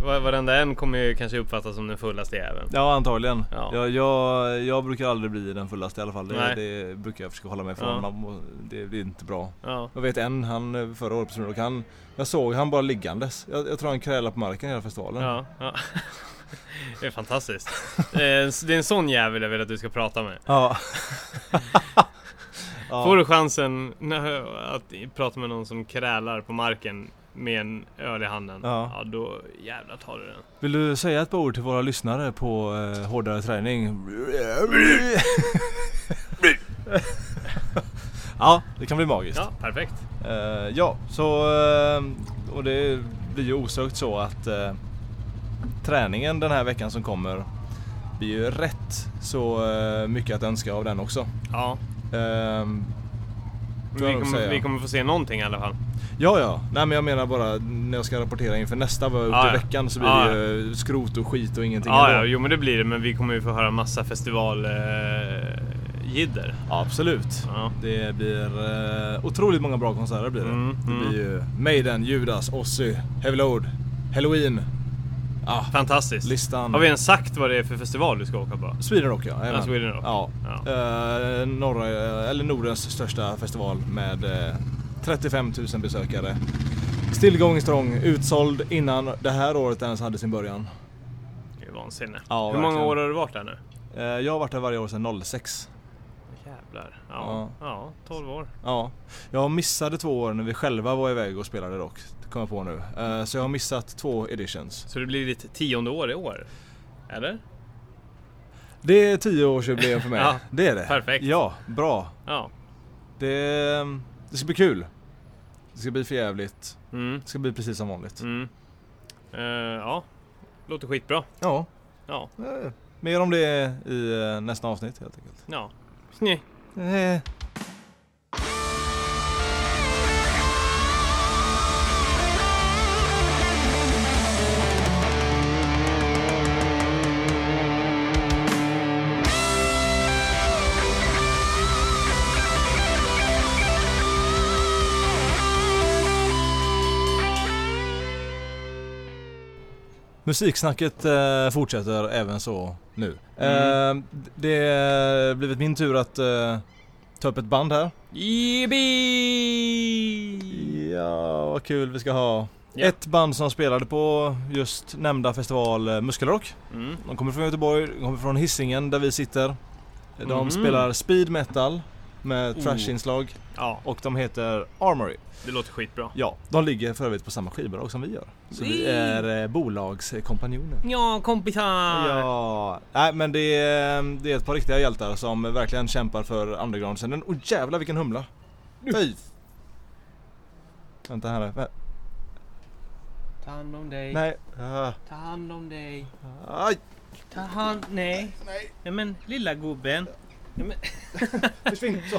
Speaker 1: Va- Varenda en kommer ju kanske uppfattas som den fullaste jäveln.
Speaker 2: ja antagligen.
Speaker 1: Ja.
Speaker 2: Jag, jag, jag brukar aldrig bli den fullaste i alla fall. Det,
Speaker 1: Nej.
Speaker 2: det brukar jag försöka hålla mig
Speaker 1: Ja.
Speaker 2: ifrån. Man må- Det, det är inte bra.
Speaker 1: Ja,
Speaker 2: Jag vet en, han eh, förra året på Smörgås, han, jag såg han bara liggandes. Jag, jag tror han krälade på marken hela festivalen.
Speaker 1: ja, ja. Det är fantastiskt. Eh, s- Det är en sån jävel jag vill att du ska prata med.
Speaker 2: Ja. Ja.
Speaker 1: Får du chansen nö, att i- prata med någon som krälar på marken med en öl i handen,
Speaker 2: Ja.
Speaker 1: ja, då jävlar tar du den.
Speaker 2: Vill du säga ett par ord till våra lyssnare på eh, hårdare träning? (laughs) ja, det kan bli magiskt.
Speaker 1: Ja, perfekt.
Speaker 2: Eh, ja, så... eh, och det blir ju osökt så att eh, träningen den här veckan som kommer blir ju rätt så eh, mycket att önska av den också.
Speaker 1: Ja,
Speaker 2: Eh,
Speaker 1: men
Speaker 2: får
Speaker 1: vi
Speaker 2: jag nog
Speaker 1: kommer,
Speaker 2: säga.
Speaker 1: vi kommer få se någonting i alla fall.
Speaker 2: Ja, ja. Nej, men jag menar bara när jag ska rapportera inför nästa vad jag har
Speaker 1: Ah, Ja,
Speaker 2: gjort i
Speaker 1: ja.
Speaker 2: veckan så blir
Speaker 1: Ja, Ah,
Speaker 2: det ju skrot och skit och ingenting
Speaker 1: Ja,
Speaker 2: ändå.
Speaker 1: ja, jo men det blir det, men vi kommer ju få höra massa eh, festivaljidder.
Speaker 2: Ja, absolut.
Speaker 1: Ja.
Speaker 2: Det blir eh, otroligt många bra konserter blir det.
Speaker 1: Mm,
Speaker 2: det
Speaker 1: mm.
Speaker 2: blir ju Maiden, Judas, Ozzy, Heavy Load, Halloween. Ah,
Speaker 1: Fantastiskt.
Speaker 2: listan.
Speaker 1: Har vi ens sagt vad det är för festival du ska åka på?
Speaker 2: Sweden Rock ja. jajamän.
Speaker 1: Sweden Rock.
Speaker 2: Ja.
Speaker 1: Ja.
Speaker 2: Eh, norra, eller Nordens största festival med eh, 35 000 besökare. Still going strong, utsåld innan det här året ens hade sin början.
Speaker 1: Det är vansinne.
Speaker 2: Ja,
Speaker 1: Hur många
Speaker 2: verkligen.
Speaker 1: år har du varit där nu?
Speaker 2: Eh, jag har varit där varje år sedan 06.
Speaker 1: Jävlar. Ja,
Speaker 2: Ja.
Speaker 1: ja. 12 år.
Speaker 2: Ja, jag missade två år när vi själva var iväg och spelade dock. Det kom jag på nu. Eh, Så jag har missat två editions.
Speaker 1: Så det blir ditt tionde år i år? Eller?
Speaker 2: Det är tioårsjubileum för mig.
Speaker 1: (laughs) Ja,
Speaker 2: det är det.
Speaker 1: perfekt.
Speaker 2: Ja, bra.
Speaker 1: Ja.
Speaker 2: Det, eh, det ska bli kul. Det ska bli för jävligt.
Speaker 1: Mm.
Speaker 2: Det ska bli precis som vanligt.
Speaker 1: Mm. Eh, ja, låter skitbra.
Speaker 2: Ja,
Speaker 1: Ja,
Speaker 2: eh, mer om det i eh, nästa avsnitt helt enkelt.
Speaker 1: ja. Nej.
Speaker 2: Eh. Musiksnacket eh, fortsätter även så nu.
Speaker 1: Mm.
Speaker 2: Eh, det har blivit min tur att eh, ta upp ett band här.
Speaker 1: Yippee!
Speaker 2: Ja, vad kul vi ska ha.
Speaker 1: Ja.
Speaker 2: Ett band som spelade på just nämnda festival eh, Muskelrock.
Speaker 1: Mm.
Speaker 2: De kommer från Göteborg, de kommer från Hisingen där vi sitter. De
Speaker 1: Mhm.
Speaker 2: spelar speed metal med
Speaker 1: Oh.
Speaker 2: trashinslag
Speaker 1: Ja,
Speaker 2: och de heter Armory.
Speaker 1: det låter skitbra.
Speaker 2: Ja, de ligger för övrigt på samma skivbolag som vi gör. Så vi är eh, bolagskompanjoner.
Speaker 1: Ja,
Speaker 2: Ah.
Speaker 1: kompisar!
Speaker 2: Ja, nej men det är, det är ett par riktiga hjältar som verkligen kämpar för underground-scenen. Och jävlar vilken humla! Fy! Vänta här nu. Vä-
Speaker 1: Ta hand om dig.
Speaker 2: Nej. Ah,
Speaker 1: Ta hand om dig.
Speaker 2: Aj!
Speaker 1: Ta hand... Nej. Nej. men lilla gubben.
Speaker 2: Försvinn (laughs) så!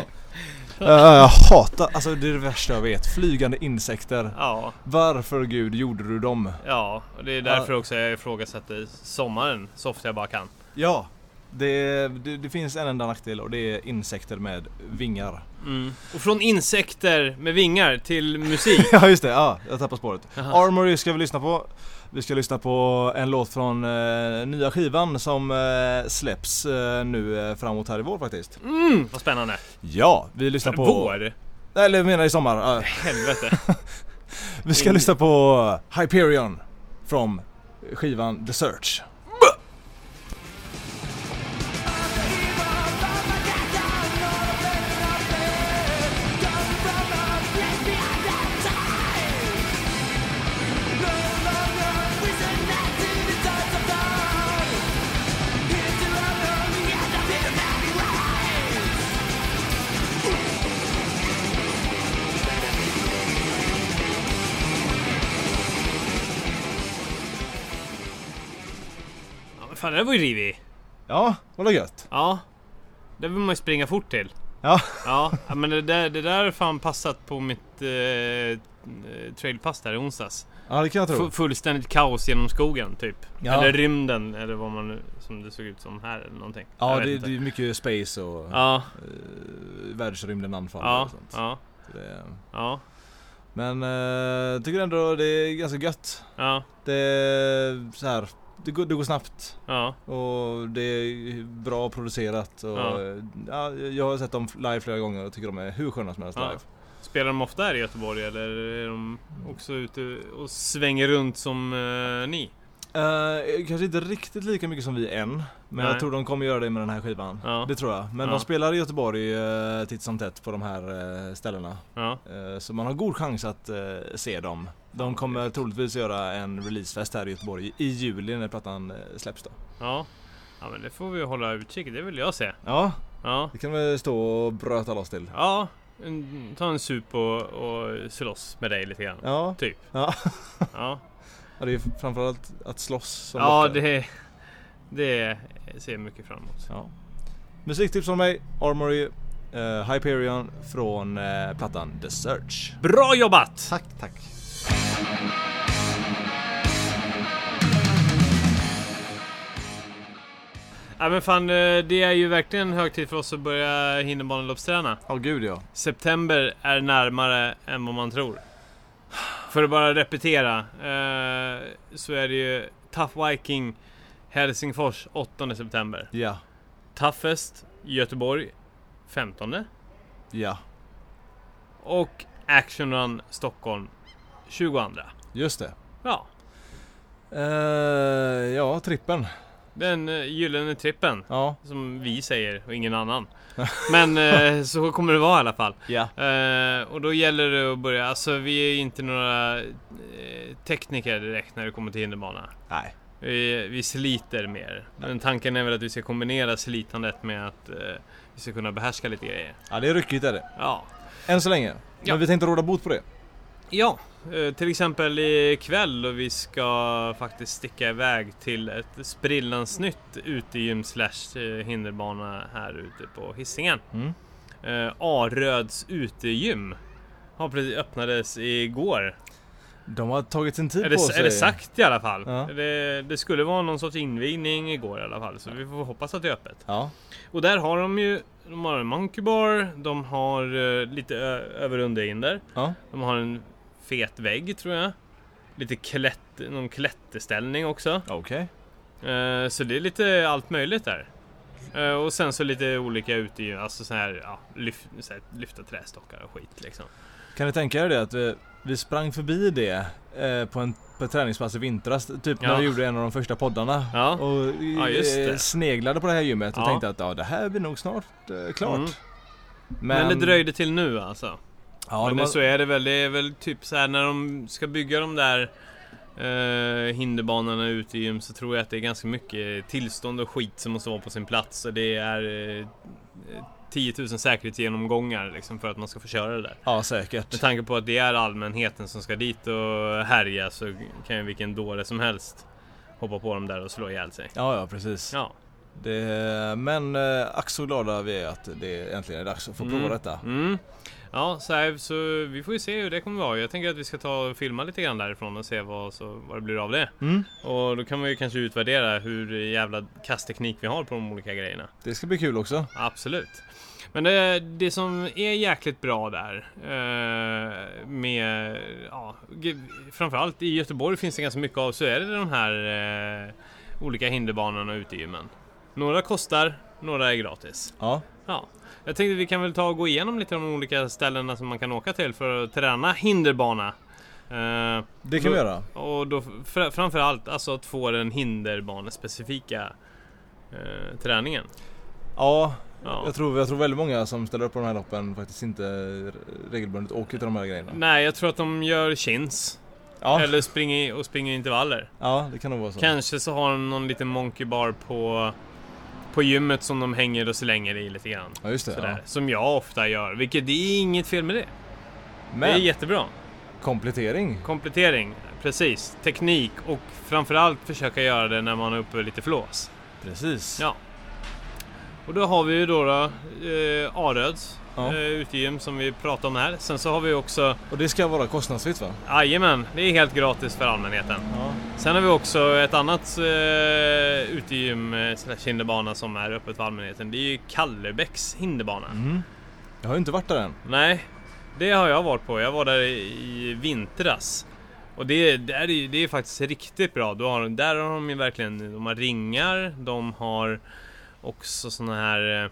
Speaker 2: jag hatar, alltså det är det värsta jag vet. Flygande insekter.
Speaker 1: Ja,
Speaker 2: Varför gud gjorde du dem?
Speaker 1: ja. Och det är därför också jag ifrågasätter sommaren så ofta jag bara kan.
Speaker 2: Ja, det, det, det finns en enda nackdel och det är insekter med vingar. (laughs)
Speaker 1: Och från insekter med vingar till
Speaker 2: (laughs)
Speaker 1: musik.
Speaker 2: Ja just det, ja, jag tappade spåret.
Speaker 1: Jaha.
Speaker 2: Armory ska vi lyssna på. Vi ska lyssna på en låt från eh, nya skivan som eh, släpps eh, nu eh, framåt här i vår faktiskt.
Speaker 1: Mm, vad spännande.
Speaker 2: Ja, vi lyssnar på...
Speaker 1: Vår?
Speaker 2: Eller jag menar i sommar. Ja.
Speaker 1: Helvete.
Speaker 2: vi ska
Speaker 1: In-
Speaker 2: lyssna på Hyperion från skivan The Search.
Speaker 3: Here to alone, yet I'm in a valley way.
Speaker 1: Fan, det där var ju rivig.
Speaker 2: Ja, vad gött.
Speaker 1: Ja. Där vill man ju springa fort till.
Speaker 2: Ja.
Speaker 1: Ja, ja, men det där, det där är fan passat på mitt eh, trailpass där i onsdags.
Speaker 2: Ja, det kan jag tro.
Speaker 1: Fu- fullständigt kaos genom skogen typ.
Speaker 2: Ja.
Speaker 1: Eller rymden eller vad man nu, som det såg ut som här eller någonting. Jag
Speaker 2: Ja,
Speaker 1: vet
Speaker 2: det,
Speaker 1: inte.
Speaker 2: det är mycket space och
Speaker 1: Ja,
Speaker 2: eh, världsrymden anfaller
Speaker 1: ja,
Speaker 2: och sånt.
Speaker 1: ja,
Speaker 2: Så det är-
Speaker 1: ja,
Speaker 2: Men eh, tycker ändå det är ganska gött.
Speaker 1: ja,
Speaker 2: Det är så här, det går, det går snabbt
Speaker 1: ja,
Speaker 2: och det är bra producerat. Och,
Speaker 1: Ja.
Speaker 2: ja. jag har sett dem live flera gånger och tycker de är hur sköna som helst
Speaker 1: Ja.
Speaker 2: live.
Speaker 1: Spelar de ofta här i Göteborg eller är de också ute och svänger runt som eh, ni?
Speaker 2: Eh, kanske inte riktigt lika mycket som vi än. Men
Speaker 1: Nej.
Speaker 2: jag tror de kommer göra det med den här skivan.
Speaker 1: Ja.
Speaker 2: Det tror jag. Men
Speaker 1: Ja.
Speaker 2: de spelar i Göteborg eh, titt som tätt på de här eh, ställena.
Speaker 1: Ja,
Speaker 2: Eh, Så man har god chans att eh, se dem. De kommer troligtvis göra en releasefest här i Göteborg i juli när plattan eh, släpps då.
Speaker 1: ja. Ja men det får vi hålla utkik, det vill jag se.
Speaker 2: Ja,
Speaker 1: Ja,
Speaker 2: det kan vi stå och bröta loss till.
Speaker 1: ja. En, ta en sup och, och slåss med dig lite grann.
Speaker 2: Ja, (laughs)
Speaker 1: Typ.
Speaker 2: Ja.
Speaker 1: ja.
Speaker 2: och det är framförallt att slåss som
Speaker 1: Ja,
Speaker 2: lockar.
Speaker 1: det, det ser jag mycket fram emot.
Speaker 2: Ja. Musiktips från mig, Armory eh, Hyperion från eh, plattan The Search.
Speaker 1: Bra jobbat!
Speaker 2: Tack, tack.
Speaker 1: Ja men fan, eh, det är ju verkligen hög tid för oss att börja hinderbaneloppsträna.
Speaker 2: Ja, gud ja.
Speaker 1: September är närmare än vad man tror. För att bara repetera eh, så är det ju Tough Viking Helsingfors 8 september.
Speaker 2: Ja,
Speaker 1: Toughest Göteborg 15
Speaker 2: ja.
Speaker 1: och Action Run Stockholm 22.
Speaker 2: Just det.
Speaker 1: Ja,
Speaker 2: Eh, ja, trippen.
Speaker 1: den eh, gyllene trippen.
Speaker 2: Ja.
Speaker 1: Som vi säger och ingen annan. Men eh, så kommer det vara i alla fall.
Speaker 2: Ja.
Speaker 1: Eh, och då gäller det att börja. Alltså vi är ju inte några eh, tekniker direkt när det kommer till hinderbana.
Speaker 2: Nej.
Speaker 1: Vi, vi sliter mer. Men tanken är väl att vi ska kombinera slitandet med att eh, vi ska kunna behärska lite grejer.
Speaker 2: Ja, det är ryckigt är det.
Speaker 1: Ja.
Speaker 2: Än så länge.
Speaker 1: Ja.
Speaker 2: Men vi tänkte råda bot på det.
Speaker 1: Ja, eh, till exempel ikväll och vi ska faktiskt sticka iväg till ett sprillans nytt utegym slash eh, hinderbana här ute på Hisingen.
Speaker 2: Mm.
Speaker 1: Eh, Aröds utegym. Har precis öppnades igår.
Speaker 2: De har tagit sin tid
Speaker 1: Är
Speaker 2: på
Speaker 1: det,
Speaker 2: sig.
Speaker 1: är det sagt i alla fall.
Speaker 2: Ja.
Speaker 1: Det, det skulle vara någon sorts invigning igår i alla fall. Så vi får hoppas att det är öppet.
Speaker 2: Ja.
Speaker 1: Och där har de ju de har en monkey bar, de har eh, lite ö- över och underhinder.
Speaker 2: Ja.
Speaker 1: De har en fet vägg tror jag. Lite klätt, någon klätterställning också.
Speaker 2: Okej.
Speaker 1: Eh, så det är lite allt möjligt där. Eh, och sen så lite olika ute, alltså så här, ja, lyft, så här, lyfta trästockar och skit liksom.
Speaker 2: Kan ni tänka er det att vi, vi sprang förbi det eh, på en på ett träningspass i vintras, typ
Speaker 1: Ja.
Speaker 2: när vi gjorde en av de första poddarna.
Speaker 1: Ja.
Speaker 2: Och eh,
Speaker 1: Ja, just det.
Speaker 2: sneglade på det här gymmet och
Speaker 1: Ja.
Speaker 2: tänkte att ja, det här blir nog snart eh, klart.
Speaker 1: Mm. Men, det dröjde till nu alltså.
Speaker 2: Ja,
Speaker 1: men
Speaker 2: de
Speaker 1: det,
Speaker 2: har,
Speaker 1: så är det väl. Det är väl typ så här när de ska bygga de där eh, hinderbanorna ute i gym så tror jag att det är ganska mycket tillstånd och skit som måste vara på sin plats. Och det är eh, 10 000 säkerhetsgenomgångar liksom, för att man ska få köra det där.
Speaker 2: ja säkert.
Speaker 1: Med tanke på att det är allmänheten som ska dit och härja så kan ju vilken dåre som helst hoppa på dem där och slå ihjäl sig.
Speaker 2: Ja, ja precis.
Speaker 1: Ja.
Speaker 2: Det, men eh, ack så glada vi är att det äntligen är dags att få prova detta.
Speaker 1: Mm. Ja, så, här, så vi får ju se hur det kommer vara. Jag tänker att vi ska ta och filma lite grann därifrån och se vad, så, vad det blir av det.
Speaker 2: Mm.
Speaker 1: Och då kan man ju kanske utvärdera hur jävla kastteknik vi har på de olika grejerna.
Speaker 2: Det ska bli kul också.
Speaker 1: Absolut. Men det, det som är jäkligt bra där eh, med, ja, g- framförallt i Göteborg finns det ganska mycket av, så är det de här eh, olika hinderbanorna ute i gymmen. Några kostar, några är gratis.
Speaker 2: Ja.
Speaker 1: Ja. Jag tänkte vi kan väl ta och gå igenom lite de olika ställena som man kan åka till för att träna hinderbana. Eh,
Speaker 2: Det kan vi göra.
Speaker 1: och då fr- framförallt alltså att få den hinderbanespecifika eh, träningen.
Speaker 2: Ja,
Speaker 1: Ja.
Speaker 2: Jag tror, jag tror väldigt många som ställer upp på de här loppen faktiskt inte regelbundet åker till de här grejerna.
Speaker 1: Nej, jag tror att de gör chins.
Speaker 2: Ja,
Speaker 1: Eller springer, och springer intervaller.
Speaker 2: ja det kan nog vara så.
Speaker 1: Kanske så har de någon liten monkey bar på, på gymmet som de hänger och slänger i lite grann.
Speaker 2: Ja, just det.
Speaker 1: Sådär.
Speaker 2: Ja.
Speaker 1: Som jag ofta gör, vilket det är inget fel med det. Det är
Speaker 2: Men
Speaker 1: jättebra.
Speaker 2: Komplettering.
Speaker 1: Komplettering, precis. Teknik och framförallt försöka göra det när man är uppe lite flås.
Speaker 2: Precis.
Speaker 1: Ja. Och då har vi ju då, då eh, Aröds
Speaker 2: Ja.
Speaker 1: eh, utegym som vi pratade om här. Sen så har vi också,
Speaker 2: Och det ska vara kostnadsfritt va?
Speaker 1: jajamän, det är helt gratis för allmänheten.
Speaker 2: Ja.
Speaker 1: Sen har vi också ett annat eh, utegym eh, slash hinderbana som är öppet för allmänheten. Det är ju Kallebäcks hinderbana.
Speaker 2: Mm. Jag har ju inte varit där än.
Speaker 1: Nej, det har jag varit på. Jag var där i vintras. Och det, det, är, ju- det är faktiskt riktigt bra. Du har, där har de ju verkligen de har ringar, de har också såna här... eh,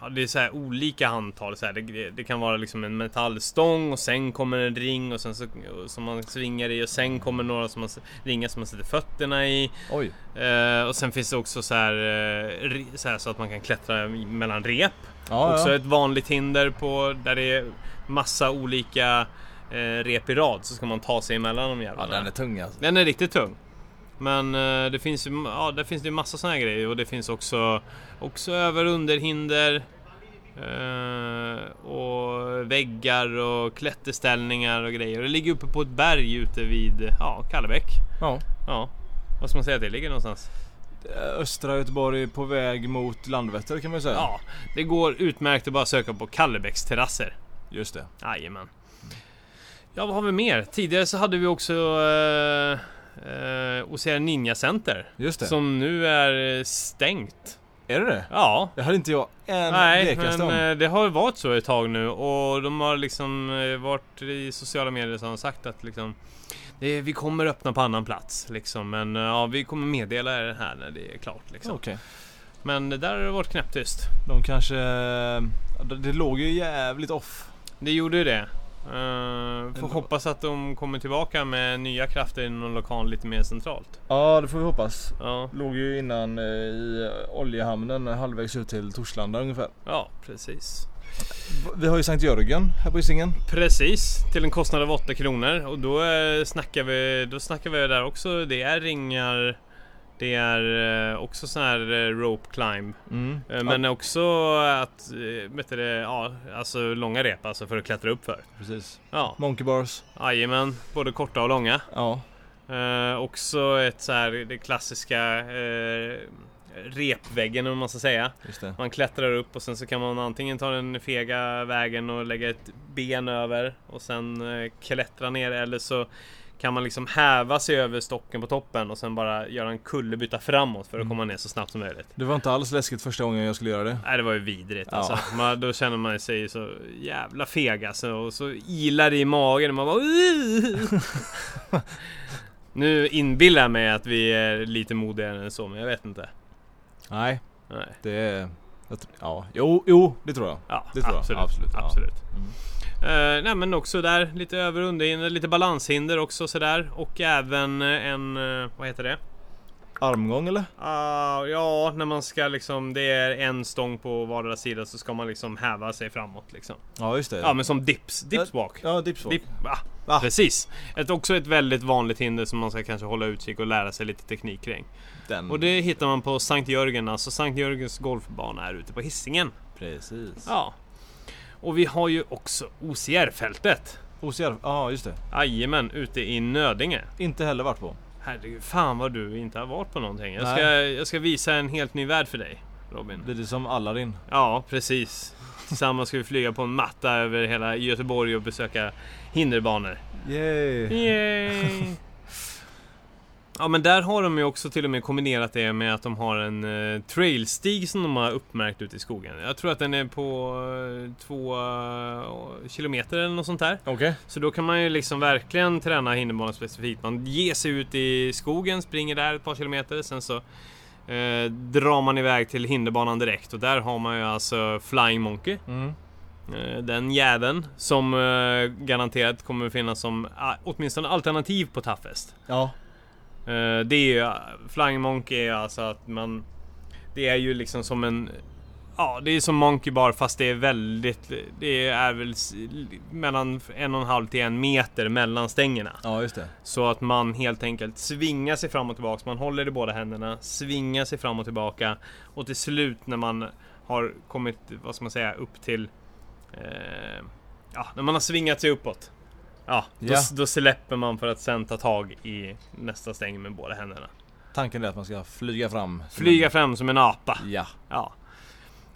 Speaker 1: ja, Det är så här olika handtag. Så här. Det, det kan vara liksom en metallstång och sen kommer en ring och sen så, som man svingar i och sen kommer några som man, s- ringar som man sätter fötterna i.
Speaker 2: Oj.
Speaker 1: Eh, och sen finns det också så här, eh, re- så här så att man kan klättra mellan rep
Speaker 2: Ja,
Speaker 1: också
Speaker 2: ja.
Speaker 1: ett vanligt hinder på där det är massa olika eh, rep i rad så ska man ta sig emellan de
Speaker 2: ja
Speaker 1: jävlarna.
Speaker 2: den är tung alltså.
Speaker 1: den är riktigt tung. Men eh, det finns ju ja, där finns det ju massa såna här grejer och det finns också, också över och underhinder. Eh, och väggar och klätterställningar och grejer. Och det ligger uppe på ett berg ute vid ja, Kallebäck.
Speaker 2: Ja.
Speaker 1: Ja. Vad ska man säga att det ligger någonstans?
Speaker 2: Eh, Östra Göteborg på väg mot Landvetter kan man ju säga.
Speaker 1: Ja, det går utmärkt att bara söka på Kallebäcks terrasser.
Speaker 2: Just det.
Speaker 1: Jajamän. Ja, vad har vi mer? Tidigare så hade vi också eh, eh, Ocean Ninja Center.
Speaker 2: Just det.
Speaker 1: Som nu är eh, stängt.
Speaker 2: Är det det?
Speaker 1: Ja.
Speaker 2: Det hade inte jag en
Speaker 1: Nej,
Speaker 2: blekaste
Speaker 1: men
Speaker 2: om.
Speaker 1: eh, det har varit så ett tag nu och de har liksom eh, varit i sociala medier som har sagt att liksom det, vi kommer öppna på annan plats liksom men eh, ja, vi kommer meddela er det här när det är klart liksom.
Speaker 2: Okej.
Speaker 1: Men det där har det varit knäpptyst.
Speaker 2: De kanske... Det det låg ju jävligt off.
Speaker 1: Det gjorde ju det. Uh,
Speaker 2: Ändå.
Speaker 1: får hoppas att de kommer tillbaka med nya krafter i någon lokal lite mer centralt.
Speaker 2: Ja, det får vi hoppas.
Speaker 1: Ja,
Speaker 2: Låg ju innan eh, i oljehamnen eh, halvvägs ut till Torslanda ungefär.
Speaker 1: ja precis.
Speaker 2: Vi har ju Sankt Jörgen här på Hisingen.
Speaker 1: Precis, till en kostnad av 8 kronor. Och då eh, snackar vi, då snackar vi där också. Det är ringar. Det är eh, också sån här eh, rope climb.
Speaker 2: Mm.
Speaker 1: Eh, Men också att, eh, vet du det, ja, alltså långa rep alltså för att klättra upp för.
Speaker 2: precis.
Speaker 1: Ja,
Speaker 2: Monkey bars.
Speaker 1: jajamän. Både korta och långa.
Speaker 2: Ja.
Speaker 1: Eh, också ett så här, det klassiska eh, repväggen om man ska säga.
Speaker 2: Just det.
Speaker 1: Man klättrar upp och sen så kan man antingen ta den fega vägen och lägga ett ben över och sen eh, klättra ner eller så kan man liksom häva sig över stocken på toppen och sen bara göra en kullerbytta framåt för att
Speaker 2: Mm.
Speaker 1: komma ner så snabbt som möjligt.
Speaker 2: Det var inte alls läskigt första gången jag skulle göra det.
Speaker 1: Nej, det var ju vidrigt
Speaker 2: Ja.
Speaker 1: alltså. Man, då känner man sig så jävla feg alltså, och så ilar det i magen och man bara
Speaker 2: (laughs)
Speaker 1: "Ugh." Nu inbillar jag mig att vi är lite modigare än så, men jag vet inte.
Speaker 2: Nej,
Speaker 1: Nej.
Speaker 2: det är... Jag tr- ja, jo, jo, det tror jag.
Speaker 1: Ja,
Speaker 2: Det tror jag.
Speaker 1: absolut.
Speaker 2: Absolut, ja.
Speaker 1: absolut.
Speaker 2: Mm.
Speaker 1: Eh, nej men också där lite över och underhinder, lite balanshinder också sådär. Och även eh, en, eh, vad heter det?
Speaker 2: Armgång eller?
Speaker 1: Ah, ja, när man ska liksom, det är en stång på vardera sida så ska man liksom häva sig framåt liksom.
Speaker 2: Ja, just det.
Speaker 1: Ja men som dips, dipswalk.
Speaker 2: Ja, dipswalk.
Speaker 1: Dip, ah,
Speaker 2: Ah.
Speaker 1: Precis! Ett, också ett väldigt vanligt hinder som man ska kanske hålla utkik och lära sig lite teknik kring.
Speaker 2: Den.
Speaker 1: Och det hittar man på Sankt Jörgen, alltså Sankt Jörgens golfbana är ute på Hisingen.
Speaker 2: Precis.
Speaker 1: Ja. Och vi har ju också OCR-fältet.
Speaker 2: Osjärv. Ja, just det.
Speaker 1: Jajamän, ute i Nödinge.
Speaker 2: Inte heller varit på.
Speaker 1: Herregud, fan vad du inte har varit på någonting. Jag ska,
Speaker 2: Nej.
Speaker 1: jag ska visa en helt ny värld för dig, Robin.
Speaker 2: Blir det som Aladdin?
Speaker 1: Ja, precis. Tillsammans ska vi flyga på en matta över hela Göteborg och besöka hinderbanor.
Speaker 2: Yay!
Speaker 1: Yay! (laughs) Ja men där har de ju också till och med kombinerat det med att de har en eh, trailstig som de har uppmärkt ute i skogen. Jag tror att den är på eh, två eh, kilometer eller något sånt där.
Speaker 2: Okej.
Speaker 1: Så då kan man ju liksom verkligen träna hinderbanan specifikt. Man ger sig ut i skogen, springer där ett par kilometer, sen så eh, drar man iväg till hinderbanan direkt och där har man ju alltså Flying Monkey.
Speaker 2: Mm.
Speaker 1: Eh, Den jäveln som eh, garanterat kommer finnas som ah, åtminstone alternativ på Taffest.
Speaker 2: Ja.
Speaker 1: Eh, Det är ju, Flying Monkey är alltså att man... Det är ju liksom som en... Ja, det är som Monkey Bar fast det är väldigt... Det är väl s- mellan en och en halv till en meter mellan stängerna.
Speaker 2: Ja, just det.
Speaker 1: Så att man helt enkelt svingar sig fram och tillbaka. Man håller i båda händerna, svingar sig fram och tillbaka. Och till slut när man har kommit, vad ska man säga, upp till... Eh, ja, när man har svingat sig uppåt. Ja, då,
Speaker 2: Ja.
Speaker 1: då släpper man för att sen ta tag i nästa stäng med båda händerna.
Speaker 2: Tanken är att man ska flyga fram. som
Speaker 1: Flyga fram som en apa.
Speaker 2: en- Ja.
Speaker 1: Ja.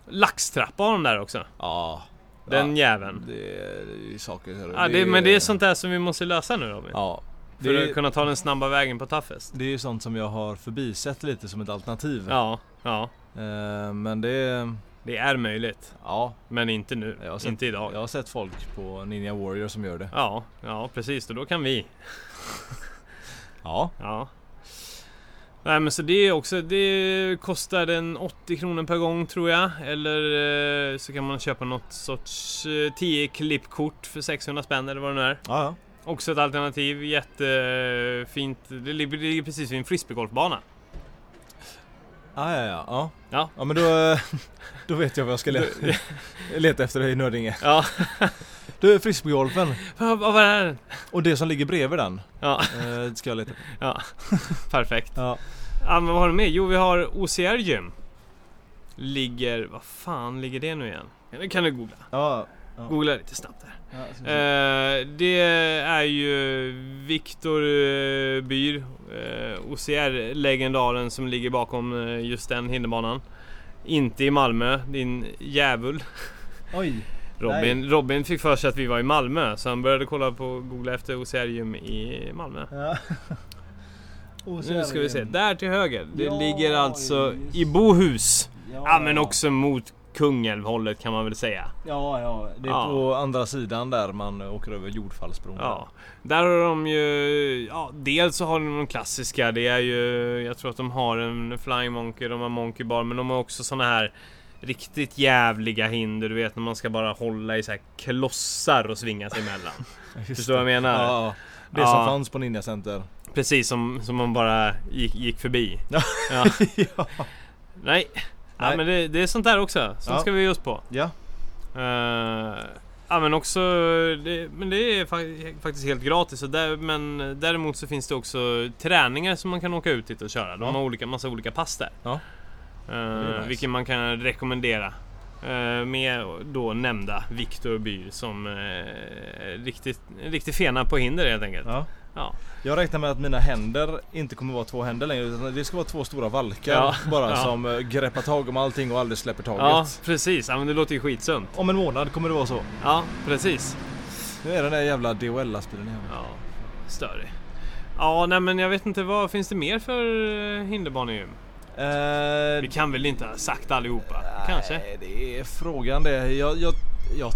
Speaker 1: Laxtrappa har de där också.
Speaker 2: Ja.
Speaker 1: Den
Speaker 2: ja.
Speaker 1: jäveln.
Speaker 2: Det är det är saker.
Speaker 1: Ja, det, men det är sånt där som vi måste lösa nu Robin.
Speaker 2: Ja.
Speaker 1: för
Speaker 2: Det
Speaker 1: att
Speaker 2: är,
Speaker 1: kunna ta den snabba vägen på Taffest.
Speaker 2: det är ju sånt som jag har förbisett lite som ett alternativ.
Speaker 1: Ja, ja.
Speaker 2: Eh, Men det är...
Speaker 1: Det är möjligt.
Speaker 2: Ja,
Speaker 1: Men inte nu.
Speaker 2: Jag har sett-
Speaker 1: Inte idag.
Speaker 2: jag har sett folk på Ninja Warrior som gör det.
Speaker 1: Ja, ja precis. Och då kan vi.
Speaker 2: Ja.
Speaker 1: Ja. Nej men så det är också, det kostar en 80 kronor per gång tror jag. Eller eh, så kan man köpa något sorts eh, 10 klippkort för 600 spänn eller vad det nu är.
Speaker 2: Ja, ja.
Speaker 1: Också ett alternativ, jättefint. Det ligger, det ligger precis vid en frisbeegolfbana.
Speaker 2: Ah, ja, ja, ja.
Speaker 1: Ja.
Speaker 2: Ja, men då, (laughs) eh, då vet jag vad jag ska le- (laughs) leta efter i Nördinge.
Speaker 1: (laughs) Ja,
Speaker 2: Du, frisbeegolfen.
Speaker 1: vad vad var det här?
Speaker 2: Och det som ligger bredvid den.
Speaker 1: Ja, (laughs)
Speaker 2: eh, Ska jag leta.
Speaker 1: perfekt.
Speaker 2: Ja.
Speaker 1: Ja, men vad har du med? Jo, vi har OCR Gym. Ligger, vad fan ligger det nu igen? Det kan du googla.
Speaker 2: Ja.
Speaker 1: Googla lite snabbt där.
Speaker 2: ja så-
Speaker 1: Eh, det är ju Viktor eh, Byr, eh, OCR-legendaren som ligger bakom eh, just den hinderbanan. Inte i Malmö, din djävul.
Speaker 2: Oj.
Speaker 1: Robin, Robin fick för sig att vi var i Malmö så han började kolla på googla efter OCR-gym i Malmö. (laughs)
Speaker 2: Ja. Oh,
Speaker 1: Nu ska vi se, där till höger. Det
Speaker 2: Ja,
Speaker 1: ligger alltså
Speaker 2: just.
Speaker 1: i Bohus.
Speaker 2: Ja,
Speaker 1: Ja men också mot Kungälvhållet kan man väl säga.
Speaker 2: Ja, ja. Det är
Speaker 1: Ja.
Speaker 2: på andra sidan där man åker över jordfallsbron.
Speaker 1: Ja. Där har de ju, ja dels så har de de klassiska. Det är ju, jag tror att de har en Flying Monkey, de har Monkey Bar. Men de har också såna här riktigt jävliga hinder. Du vet när man ska bara hålla i så här klossar och svinga sig
Speaker 2: (laughs)
Speaker 1: emellan.
Speaker 2: Just
Speaker 1: Förstår vad
Speaker 2: det.
Speaker 1: jag menar?
Speaker 2: Ja, ja. det
Speaker 1: Ja.
Speaker 2: som fanns på Ninja Center.
Speaker 1: Precis som, som man bara gick, gick förbi.
Speaker 2: Ja.
Speaker 1: Ja.
Speaker 2: ja. (laughs)
Speaker 1: Nej. Ja,
Speaker 2: Nej.
Speaker 1: men det, det är sånt där också. Sånt
Speaker 2: Ja.
Speaker 1: ska vi ge oss på.
Speaker 2: ja.
Speaker 1: Eh, ja men också, det, men det är fa- faktiskt helt gratis. Och där, men däremot så finns det också träningar som man kan åka ut dit och köra. De
Speaker 2: Ja.
Speaker 1: har olika, massa olika pass där.
Speaker 2: Ja.
Speaker 1: Eh,
Speaker 2: nice.
Speaker 1: Vilket man kan rekommendera. Eh, med då nämnda Viktor Byr som eh, riktigt, riktigt fena på hinder helt enkelt.
Speaker 2: ja.
Speaker 1: Ja.
Speaker 2: Jag räknar med att mina händer inte kommer vara två händer längre utan det ska vara två stora valkar
Speaker 1: Ja.
Speaker 2: bara
Speaker 1: Ja.
Speaker 2: som eh, greppar tag om allting och aldrig släpper taget.
Speaker 1: Ja, precis. Ja, men det låter ju skitsunt.
Speaker 2: Om en månad kommer det vara så.
Speaker 1: Ja, precis.
Speaker 2: Nu är den där jävla DHL-lastbilen igen.
Speaker 1: Ja, störig. Ja, nej men jag vet inte vad finns det mer för eh, hinderbanegym?
Speaker 2: Eh,
Speaker 1: Vi kan väl inte ha sagt allihopa? Kanske?
Speaker 2: Nej, det är frågan det. Jag, jag, jag,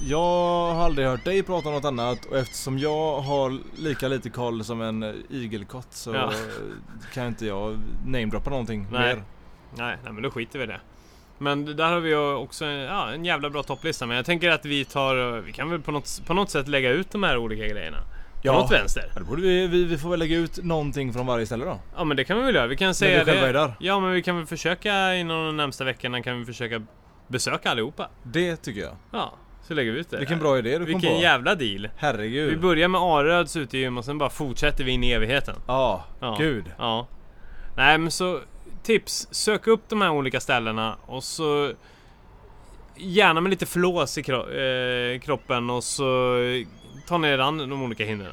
Speaker 2: jag har aldrig hört dig prata om något annat och eftersom jag har lika lite koll som en eh, igelkott så
Speaker 1: Ja.
Speaker 2: kan inte jag namedroppa någonting
Speaker 1: Nej.
Speaker 2: mer.
Speaker 1: Nej, nej, men då skiter vi i det. Men det- där har vi ju också en, ja, en jävla bra topplista. Men jag tänker att vi tar, eh, vi kan väl på något, på något sätt lägga ut de här olika grejerna. På
Speaker 2: Ja.
Speaker 1: något vänster.
Speaker 2: Ja, det borde vi, vi, vi får väl lägga ut någonting från varje ställe då.
Speaker 1: Ja men det kan vi väl göra. Vi kan säga
Speaker 2: vi själva är
Speaker 1: det.
Speaker 2: där.
Speaker 1: Ja men vi kan väl försöka inom de närmsta veckorna kan vi försöka besöka allihopa.
Speaker 2: Det tycker jag.
Speaker 1: Ja, så lägger vi ut det.
Speaker 2: Vilken
Speaker 1: där.
Speaker 2: bra idé du kom
Speaker 1: Vilken
Speaker 2: på.
Speaker 1: jävla deal.
Speaker 2: Herregud.
Speaker 1: Vi börjar med Aröds utegym och sen bara fortsätter vi in i evigheten.
Speaker 2: ja,
Speaker 1: Ja.
Speaker 2: gud.
Speaker 1: Ja. Nej men så tips. Sök upp de här olika ställena och så gärna med lite flås i kro- eh, kroppen och så ta ner an de olika hindren.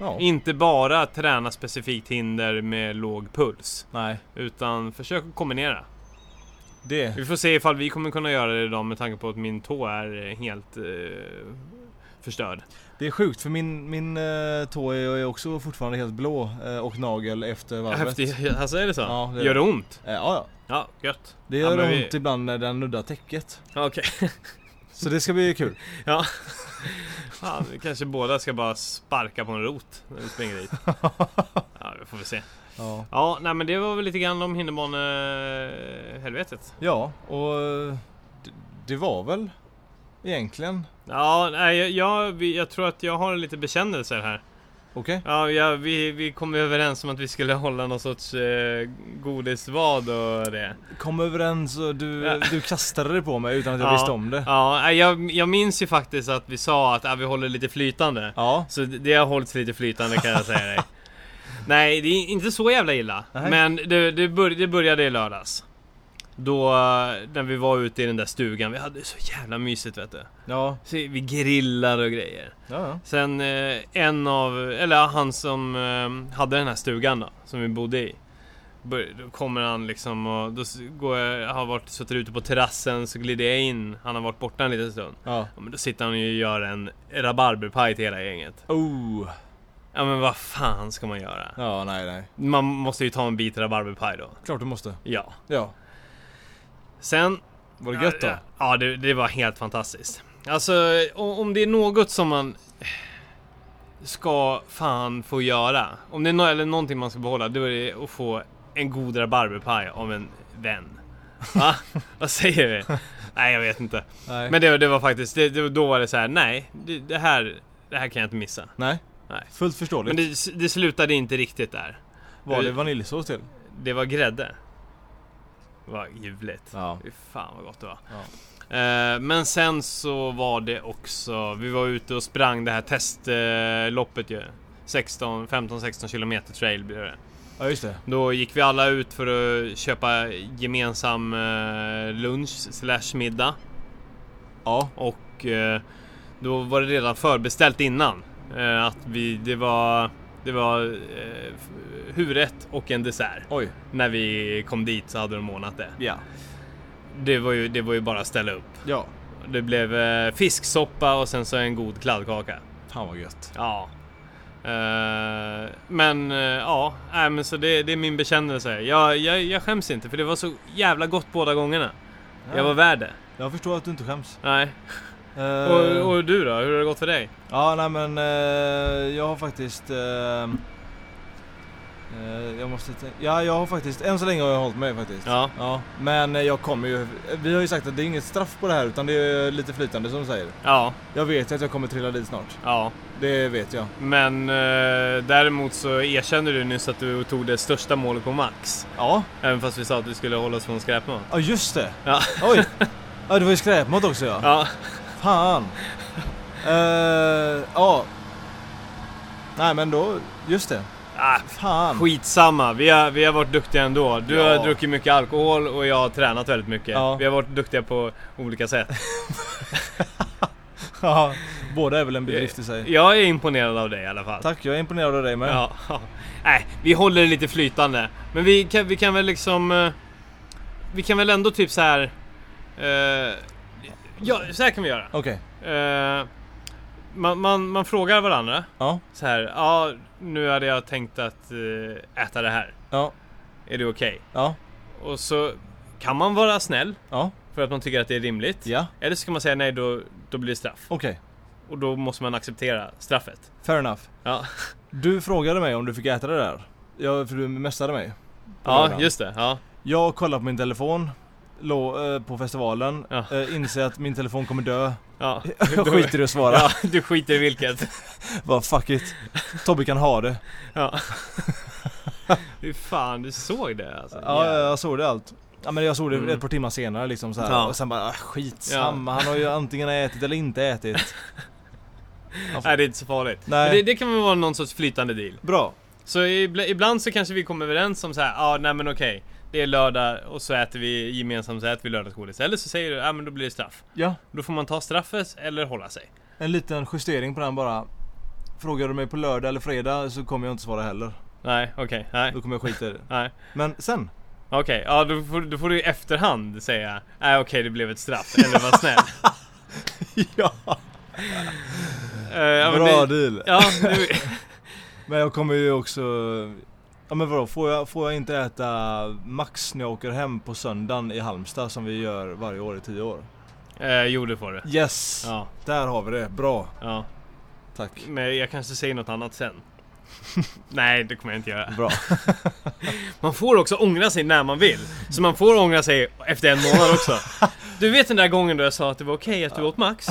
Speaker 2: Ja.
Speaker 1: Inte bara träna specifikt hinder med låg puls.
Speaker 2: Nej,
Speaker 1: Utan försök att kombinera.
Speaker 2: det.
Speaker 1: Vi får se ifall vi kommer kunna göra det idag med tanke på att min tå är helt eh, förstörd.
Speaker 2: Det är sjukt för min, min eh, tå är är också fortfarande helt blå eh, och nagel efter varvet.
Speaker 1: Efter, alltså är det så?
Speaker 2: Ja, det är
Speaker 1: Gör
Speaker 2: det.
Speaker 1: det ont?
Speaker 2: Eh, ja, ja.
Speaker 1: Ja, gött.
Speaker 2: Det
Speaker 1: Ja,
Speaker 2: gör
Speaker 1: men vi-
Speaker 2: ont ibland när den nuddar täcket.
Speaker 1: Ja, Okej.
Speaker 2: Så det ska bli kul.
Speaker 1: Ja. Fan, vi kanske båda ska bara sparka på en rot när vi springer
Speaker 2: (laughs)
Speaker 1: dit. Ja, det får vi se.
Speaker 2: Ja,
Speaker 1: Ja, nej men det var väl lite grann om hinderbanehelvetet.
Speaker 2: ja och eh, det, det var väl egentligen
Speaker 1: Ja, nej, jag, jag, vi- jag tror att jag har lite bekännelser här.
Speaker 2: okej.
Speaker 1: Ja, jag, vi, vi kom ju överens om att vi skulle hålla någon sorts eh, godisvad och det.
Speaker 2: Kom överens och du,
Speaker 1: Ja.
Speaker 2: du kastade det på mig utan att jag
Speaker 1: Ja.
Speaker 2: visste om det.
Speaker 1: Ja, nej, jag, jag minns ju faktiskt att vi sa att ja, vi håller lite flytande.
Speaker 2: Ja.
Speaker 1: Så det- det har hållits lite flytande kan jag säga dig. Nej, det är inte så jävla illa.
Speaker 2: Nej.
Speaker 1: Men det, det, bör, det började i lördags. Då eh, när vi var ute i den där stugan, vi hade det så jävla mysigt vet du.
Speaker 2: Ja,
Speaker 1: Så vi grillar och grejer.
Speaker 2: ja, ja.
Speaker 1: Sen eh, en av, eller ja, han som eh, hade den här stugan då, som vi bodde i. Bör- Då kommer han liksom och då s- går jag, jag har varit, suttit ute på terrassen så glider jag in. Han har varit borta en liten stund.
Speaker 2: ja.
Speaker 1: Ja, men då sitter han ju och gör en rabarberpaj till hela gänget.
Speaker 2: Oh.
Speaker 1: Ja men vad fan ska man göra?
Speaker 2: Ja, nej, nej.
Speaker 1: Man måste ju ta en bit rabarberpaj då.
Speaker 2: Klart du måste.
Speaker 1: Ja.
Speaker 2: Ja.
Speaker 1: Sen
Speaker 2: Var det gött då?
Speaker 1: Ja, ja det, det var helt fantastiskt. Alltså o- om det är något som man ska fan få göra. Om det är no- eller någonting man ska behålla, då är det att få en god rabarberpaj av en vän.
Speaker 2: (laughs)
Speaker 1: Va? Vad säger vi? Nej, jag vet inte.
Speaker 2: Nej.
Speaker 1: Men det, det var faktiskt, det, det, då var det så här: nej, det, det, här, det här kan jag inte missa.
Speaker 2: nej.
Speaker 1: Nej.
Speaker 2: Fullt förståeligt.
Speaker 1: Men det, det slutade inte riktigt där.
Speaker 2: Var det vaniljsås till?
Speaker 1: Det var grädde. Vad ljuvligt.
Speaker 2: Ja.
Speaker 1: Fy fan vad gott det var.
Speaker 2: Ja.
Speaker 1: Eh, men sen så var det också, vi var ute och sprang det här testloppet ju. 16, 15-16 kilometer trail blir det.
Speaker 2: Ja, just det.
Speaker 1: Då gick vi alla ut för att köpa gemensam eh, lunch slash middag.
Speaker 2: Ja.
Speaker 1: Och eh, då var det redan förbeställt innan. Eh, att vi, det var, det var eh, f- huvudrätt och en dessert.
Speaker 2: Oj.
Speaker 1: När vi kom dit så hade de ordnat det.
Speaker 2: Ja.
Speaker 1: Det var ju, det var ju bara att ställa upp.
Speaker 2: Ja.
Speaker 1: Det blev eh, fisksoppa och sen så en god kladdkaka.
Speaker 2: Fan vad gött.
Speaker 1: Ja. Eh, men eh, ja, nej, men så det, det är min bekännelse. Jag, jag, jag skäms inte för det var så jävla gott båda gångerna. Jag var värd det.
Speaker 2: Jag förstår att du inte skäms.
Speaker 1: Nej.
Speaker 2: Eh,
Speaker 1: Och, och du då? Hur har det gått för dig?
Speaker 2: Ja, nej men eh, jag har faktiskt... eh, eh, jag måste tänka. Ja, jag har faktiskt... Än så länge har jag hållit mig faktiskt.
Speaker 1: Ja.
Speaker 2: men eh, jag kommer ju... Vi har ju sagt att det är inget straff på det här utan det är lite flytande som du säger.
Speaker 1: Ja,
Speaker 2: Jag vet ju att jag kommer trilla dit snart.
Speaker 1: ja.
Speaker 2: Det vet jag.
Speaker 1: Men eh, däremot så erkänner du nyss att du tog det största målet på max.
Speaker 2: Ja,
Speaker 1: Även fast vi sa att vi skulle hålla oss från skräpmat.
Speaker 2: ja just det.
Speaker 1: Ja. (laughs)
Speaker 2: Oj! Ja, det var ju skräpmat också ja.
Speaker 1: Ja.
Speaker 2: Fan! Eh, ja. Nej men då, just det.
Speaker 1: Ah,
Speaker 2: Fan!
Speaker 1: Skitsamma, vi har, vi har varit duktiga ändå. Du
Speaker 2: Ja.
Speaker 1: har druckit mycket alkohol och jag har tränat väldigt mycket.
Speaker 2: Ja.
Speaker 1: Vi har varit duktiga på olika
Speaker 2: (laughs)
Speaker 1: sätt.
Speaker 2: Ja, Båda är väl en bedrift i sig.
Speaker 1: Jag är imponerad av dig i alla fall.
Speaker 2: Tack, jag är imponerad av dig med.
Speaker 1: Ja. (laughs) Nej, vi håller det lite flytande. Men vi kan, vi kan väl liksom... eh, Vi kan väl ändå typ så här... eh, ja, så här kan vi göra.
Speaker 2: Okej.
Speaker 1: Eh, man, man, man frågar varandra
Speaker 2: Ja.
Speaker 1: så här. Ja, nu hade jag tänkt att eh, äta det här.
Speaker 2: Ja.
Speaker 1: Är det okej?
Speaker 2: Ja.
Speaker 1: Och så kan man vara snäll.
Speaker 2: Ja.
Speaker 1: För att man tycker att det är rimligt.
Speaker 2: Ja.
Speaker 1: Eller så kan man säga nej, då, då blir det straff.
Speaker 2: Okej.
Speaker 1: Och då måste man acceptera straffet.
Speaker 2: Fair enough.
Speaker 1: Ja,
Speaker 2: Du frågade mig om du fick äta det där. Ja, för du messade mig.
Speaker 1: ja just det. Ja.
Speaker 2: Jag kollade på min telefon. Lå, eh, på festivalen.
Speaker 1: Ja.
Speaker 2: Eh, inser att min telefon kommer (laughs) dö.
Speaker 1: Ja.
Speaker 2: Jag skiter i att svara.
Speaker 1: Ja, du skiter i vilket.
Speaker 2: Bara fuck it. Tobbe kan ha det. (laughs)
Speaker 1: Ja. Fy fan, du såg det alltså?
Speaker 2: Ja, jag såg det allt. Ja men jag såg det
Speaker 1: Mm.
Speaker 2: ett par timmar senare liksom så här.
Speaker 1: Ja.
Speaker 2: och sen bara ah, skitsamma, han har ju antingen ätit eller inte ätit.
Speaker 1: Nej, det är inte så farligt.
Speaker 2: Nej.
Speaker 1: Men Det, det kan väl vara någon sorts flytande deal.
Speaker 2: Bra.
Speaker 1: Så ibla- ibland så kanske vi kommer överens om så här, ja, nej men okej. Det är lördag och så äter vi gemensamt så äter vi lördagsgodis. Eller så säger du, ja men då blir det straff.
Speaker 2: Ja,
Speaker 1: Då får man ta straffet eller hålla sig.
Speaker 2: en liten justering på den bara. Frågar du mig på lördag eller fredag så kommer jag inte svara heller.
Speaker 1: Nej, okej, nej,
Speaker 2: Då kommer jag skita i det.
Speaker 1: nej.
Speaker 2: Men
Speaker 1: (laughs)
Speaker 2: sen.
Speaker 1: Okej, ja då får, då får du i efterhand säga Nej okej det blev ett straff, eller var
Speaker 2: (laughs)
Speaker 1: snäll.
Speaker 2: ja.
Speaker 1: Eh, ja, men
Speaker 2: Bra
Speaker 1: det, (laughs)
Speaker 2: deal.
Speaker 1: ja, nu,
Speaker 2: Men jag kommer ju också... Ja men vadå, får jag, får jag inte äta Max när jag åker hem på söndagen i Halmstad som vi gör varje år i tio år?
Speaker 1: eh, jo det får du.
Speaker 2: Yes!
Speaker 1: Ja, Mm.
Speaker 2: Där har vi det, bra.
Speaker 1: ja.
Speaker 2: Tack.
Speaker 1: Men jag kanske säger något annat sen. (laughs) Nej det kommer jag inte göra. (laughs)
Speaker 2: Bra.
Speaker 1: Man får också ångra sig när man vill. Så man får ångra sig efter en månad
Speaker 2: (laughs)
Speaker 1: också. Du vet den där gången då jag sa att det var okej att du åt Max?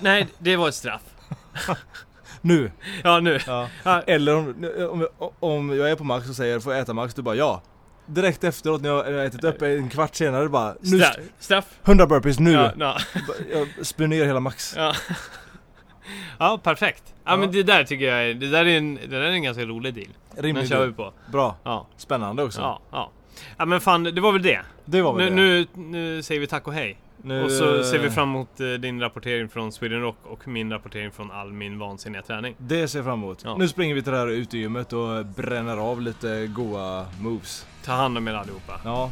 Speaker 1: Nej, det var ett straff.
Speaker 2: Nu!
Speaker 1: Ja nu.
Speaker 2: Ja.
Speaker 1: Ja,
Speaker 2: Eller om, om, jag- om jag är på Max och säger får jag äta Max? Du bara ja. Direkt efteråt när jag har ätit upp en kvart senare bara nu,
Speaker 1: straff. straff.
Speaker 2: 100 burpees nu!
Speaker 1: Ja, ja.
Speaker 2: Jag spyr ner hela Max.
Speaker 1: Ja. (laughs) ja, perfekt. Ja,
Speaker 2: Ja.
Speaker 1: men det där tycker jag är, det där är en, det där är en ganska rolig deal. Den
Speaker 2: Rimligt.
Speaker 1: kör vi på.
Speaker 2: Bra.
Speaker 1: Ja,
Speaker 2: Spännande också.
Speaker 1: ja, ja. Ja men fan, det var väl det.
Speaker 2: Det var väl
Speaker 1: Nu,
Speaker 2: det.
Speaker 1: nu, nu säger vi tack och hej.
Speaker 2: Nu,
Speaker 1: Och så ser vi
Speaker 2: eh,
Speaker 1: fram emot eh, din rapportering från Sweden Rock och min rapportering från all min vansinniga träning.
Speaker 2: Det ser jag fram emot.
Speaker 1: Ja.
Speaker 2: Nu springer vi till det här utegymmet och bränner av lite goa moves.
Speaker 1: Ta hand om er allihopa.
Speaker 2: Ja,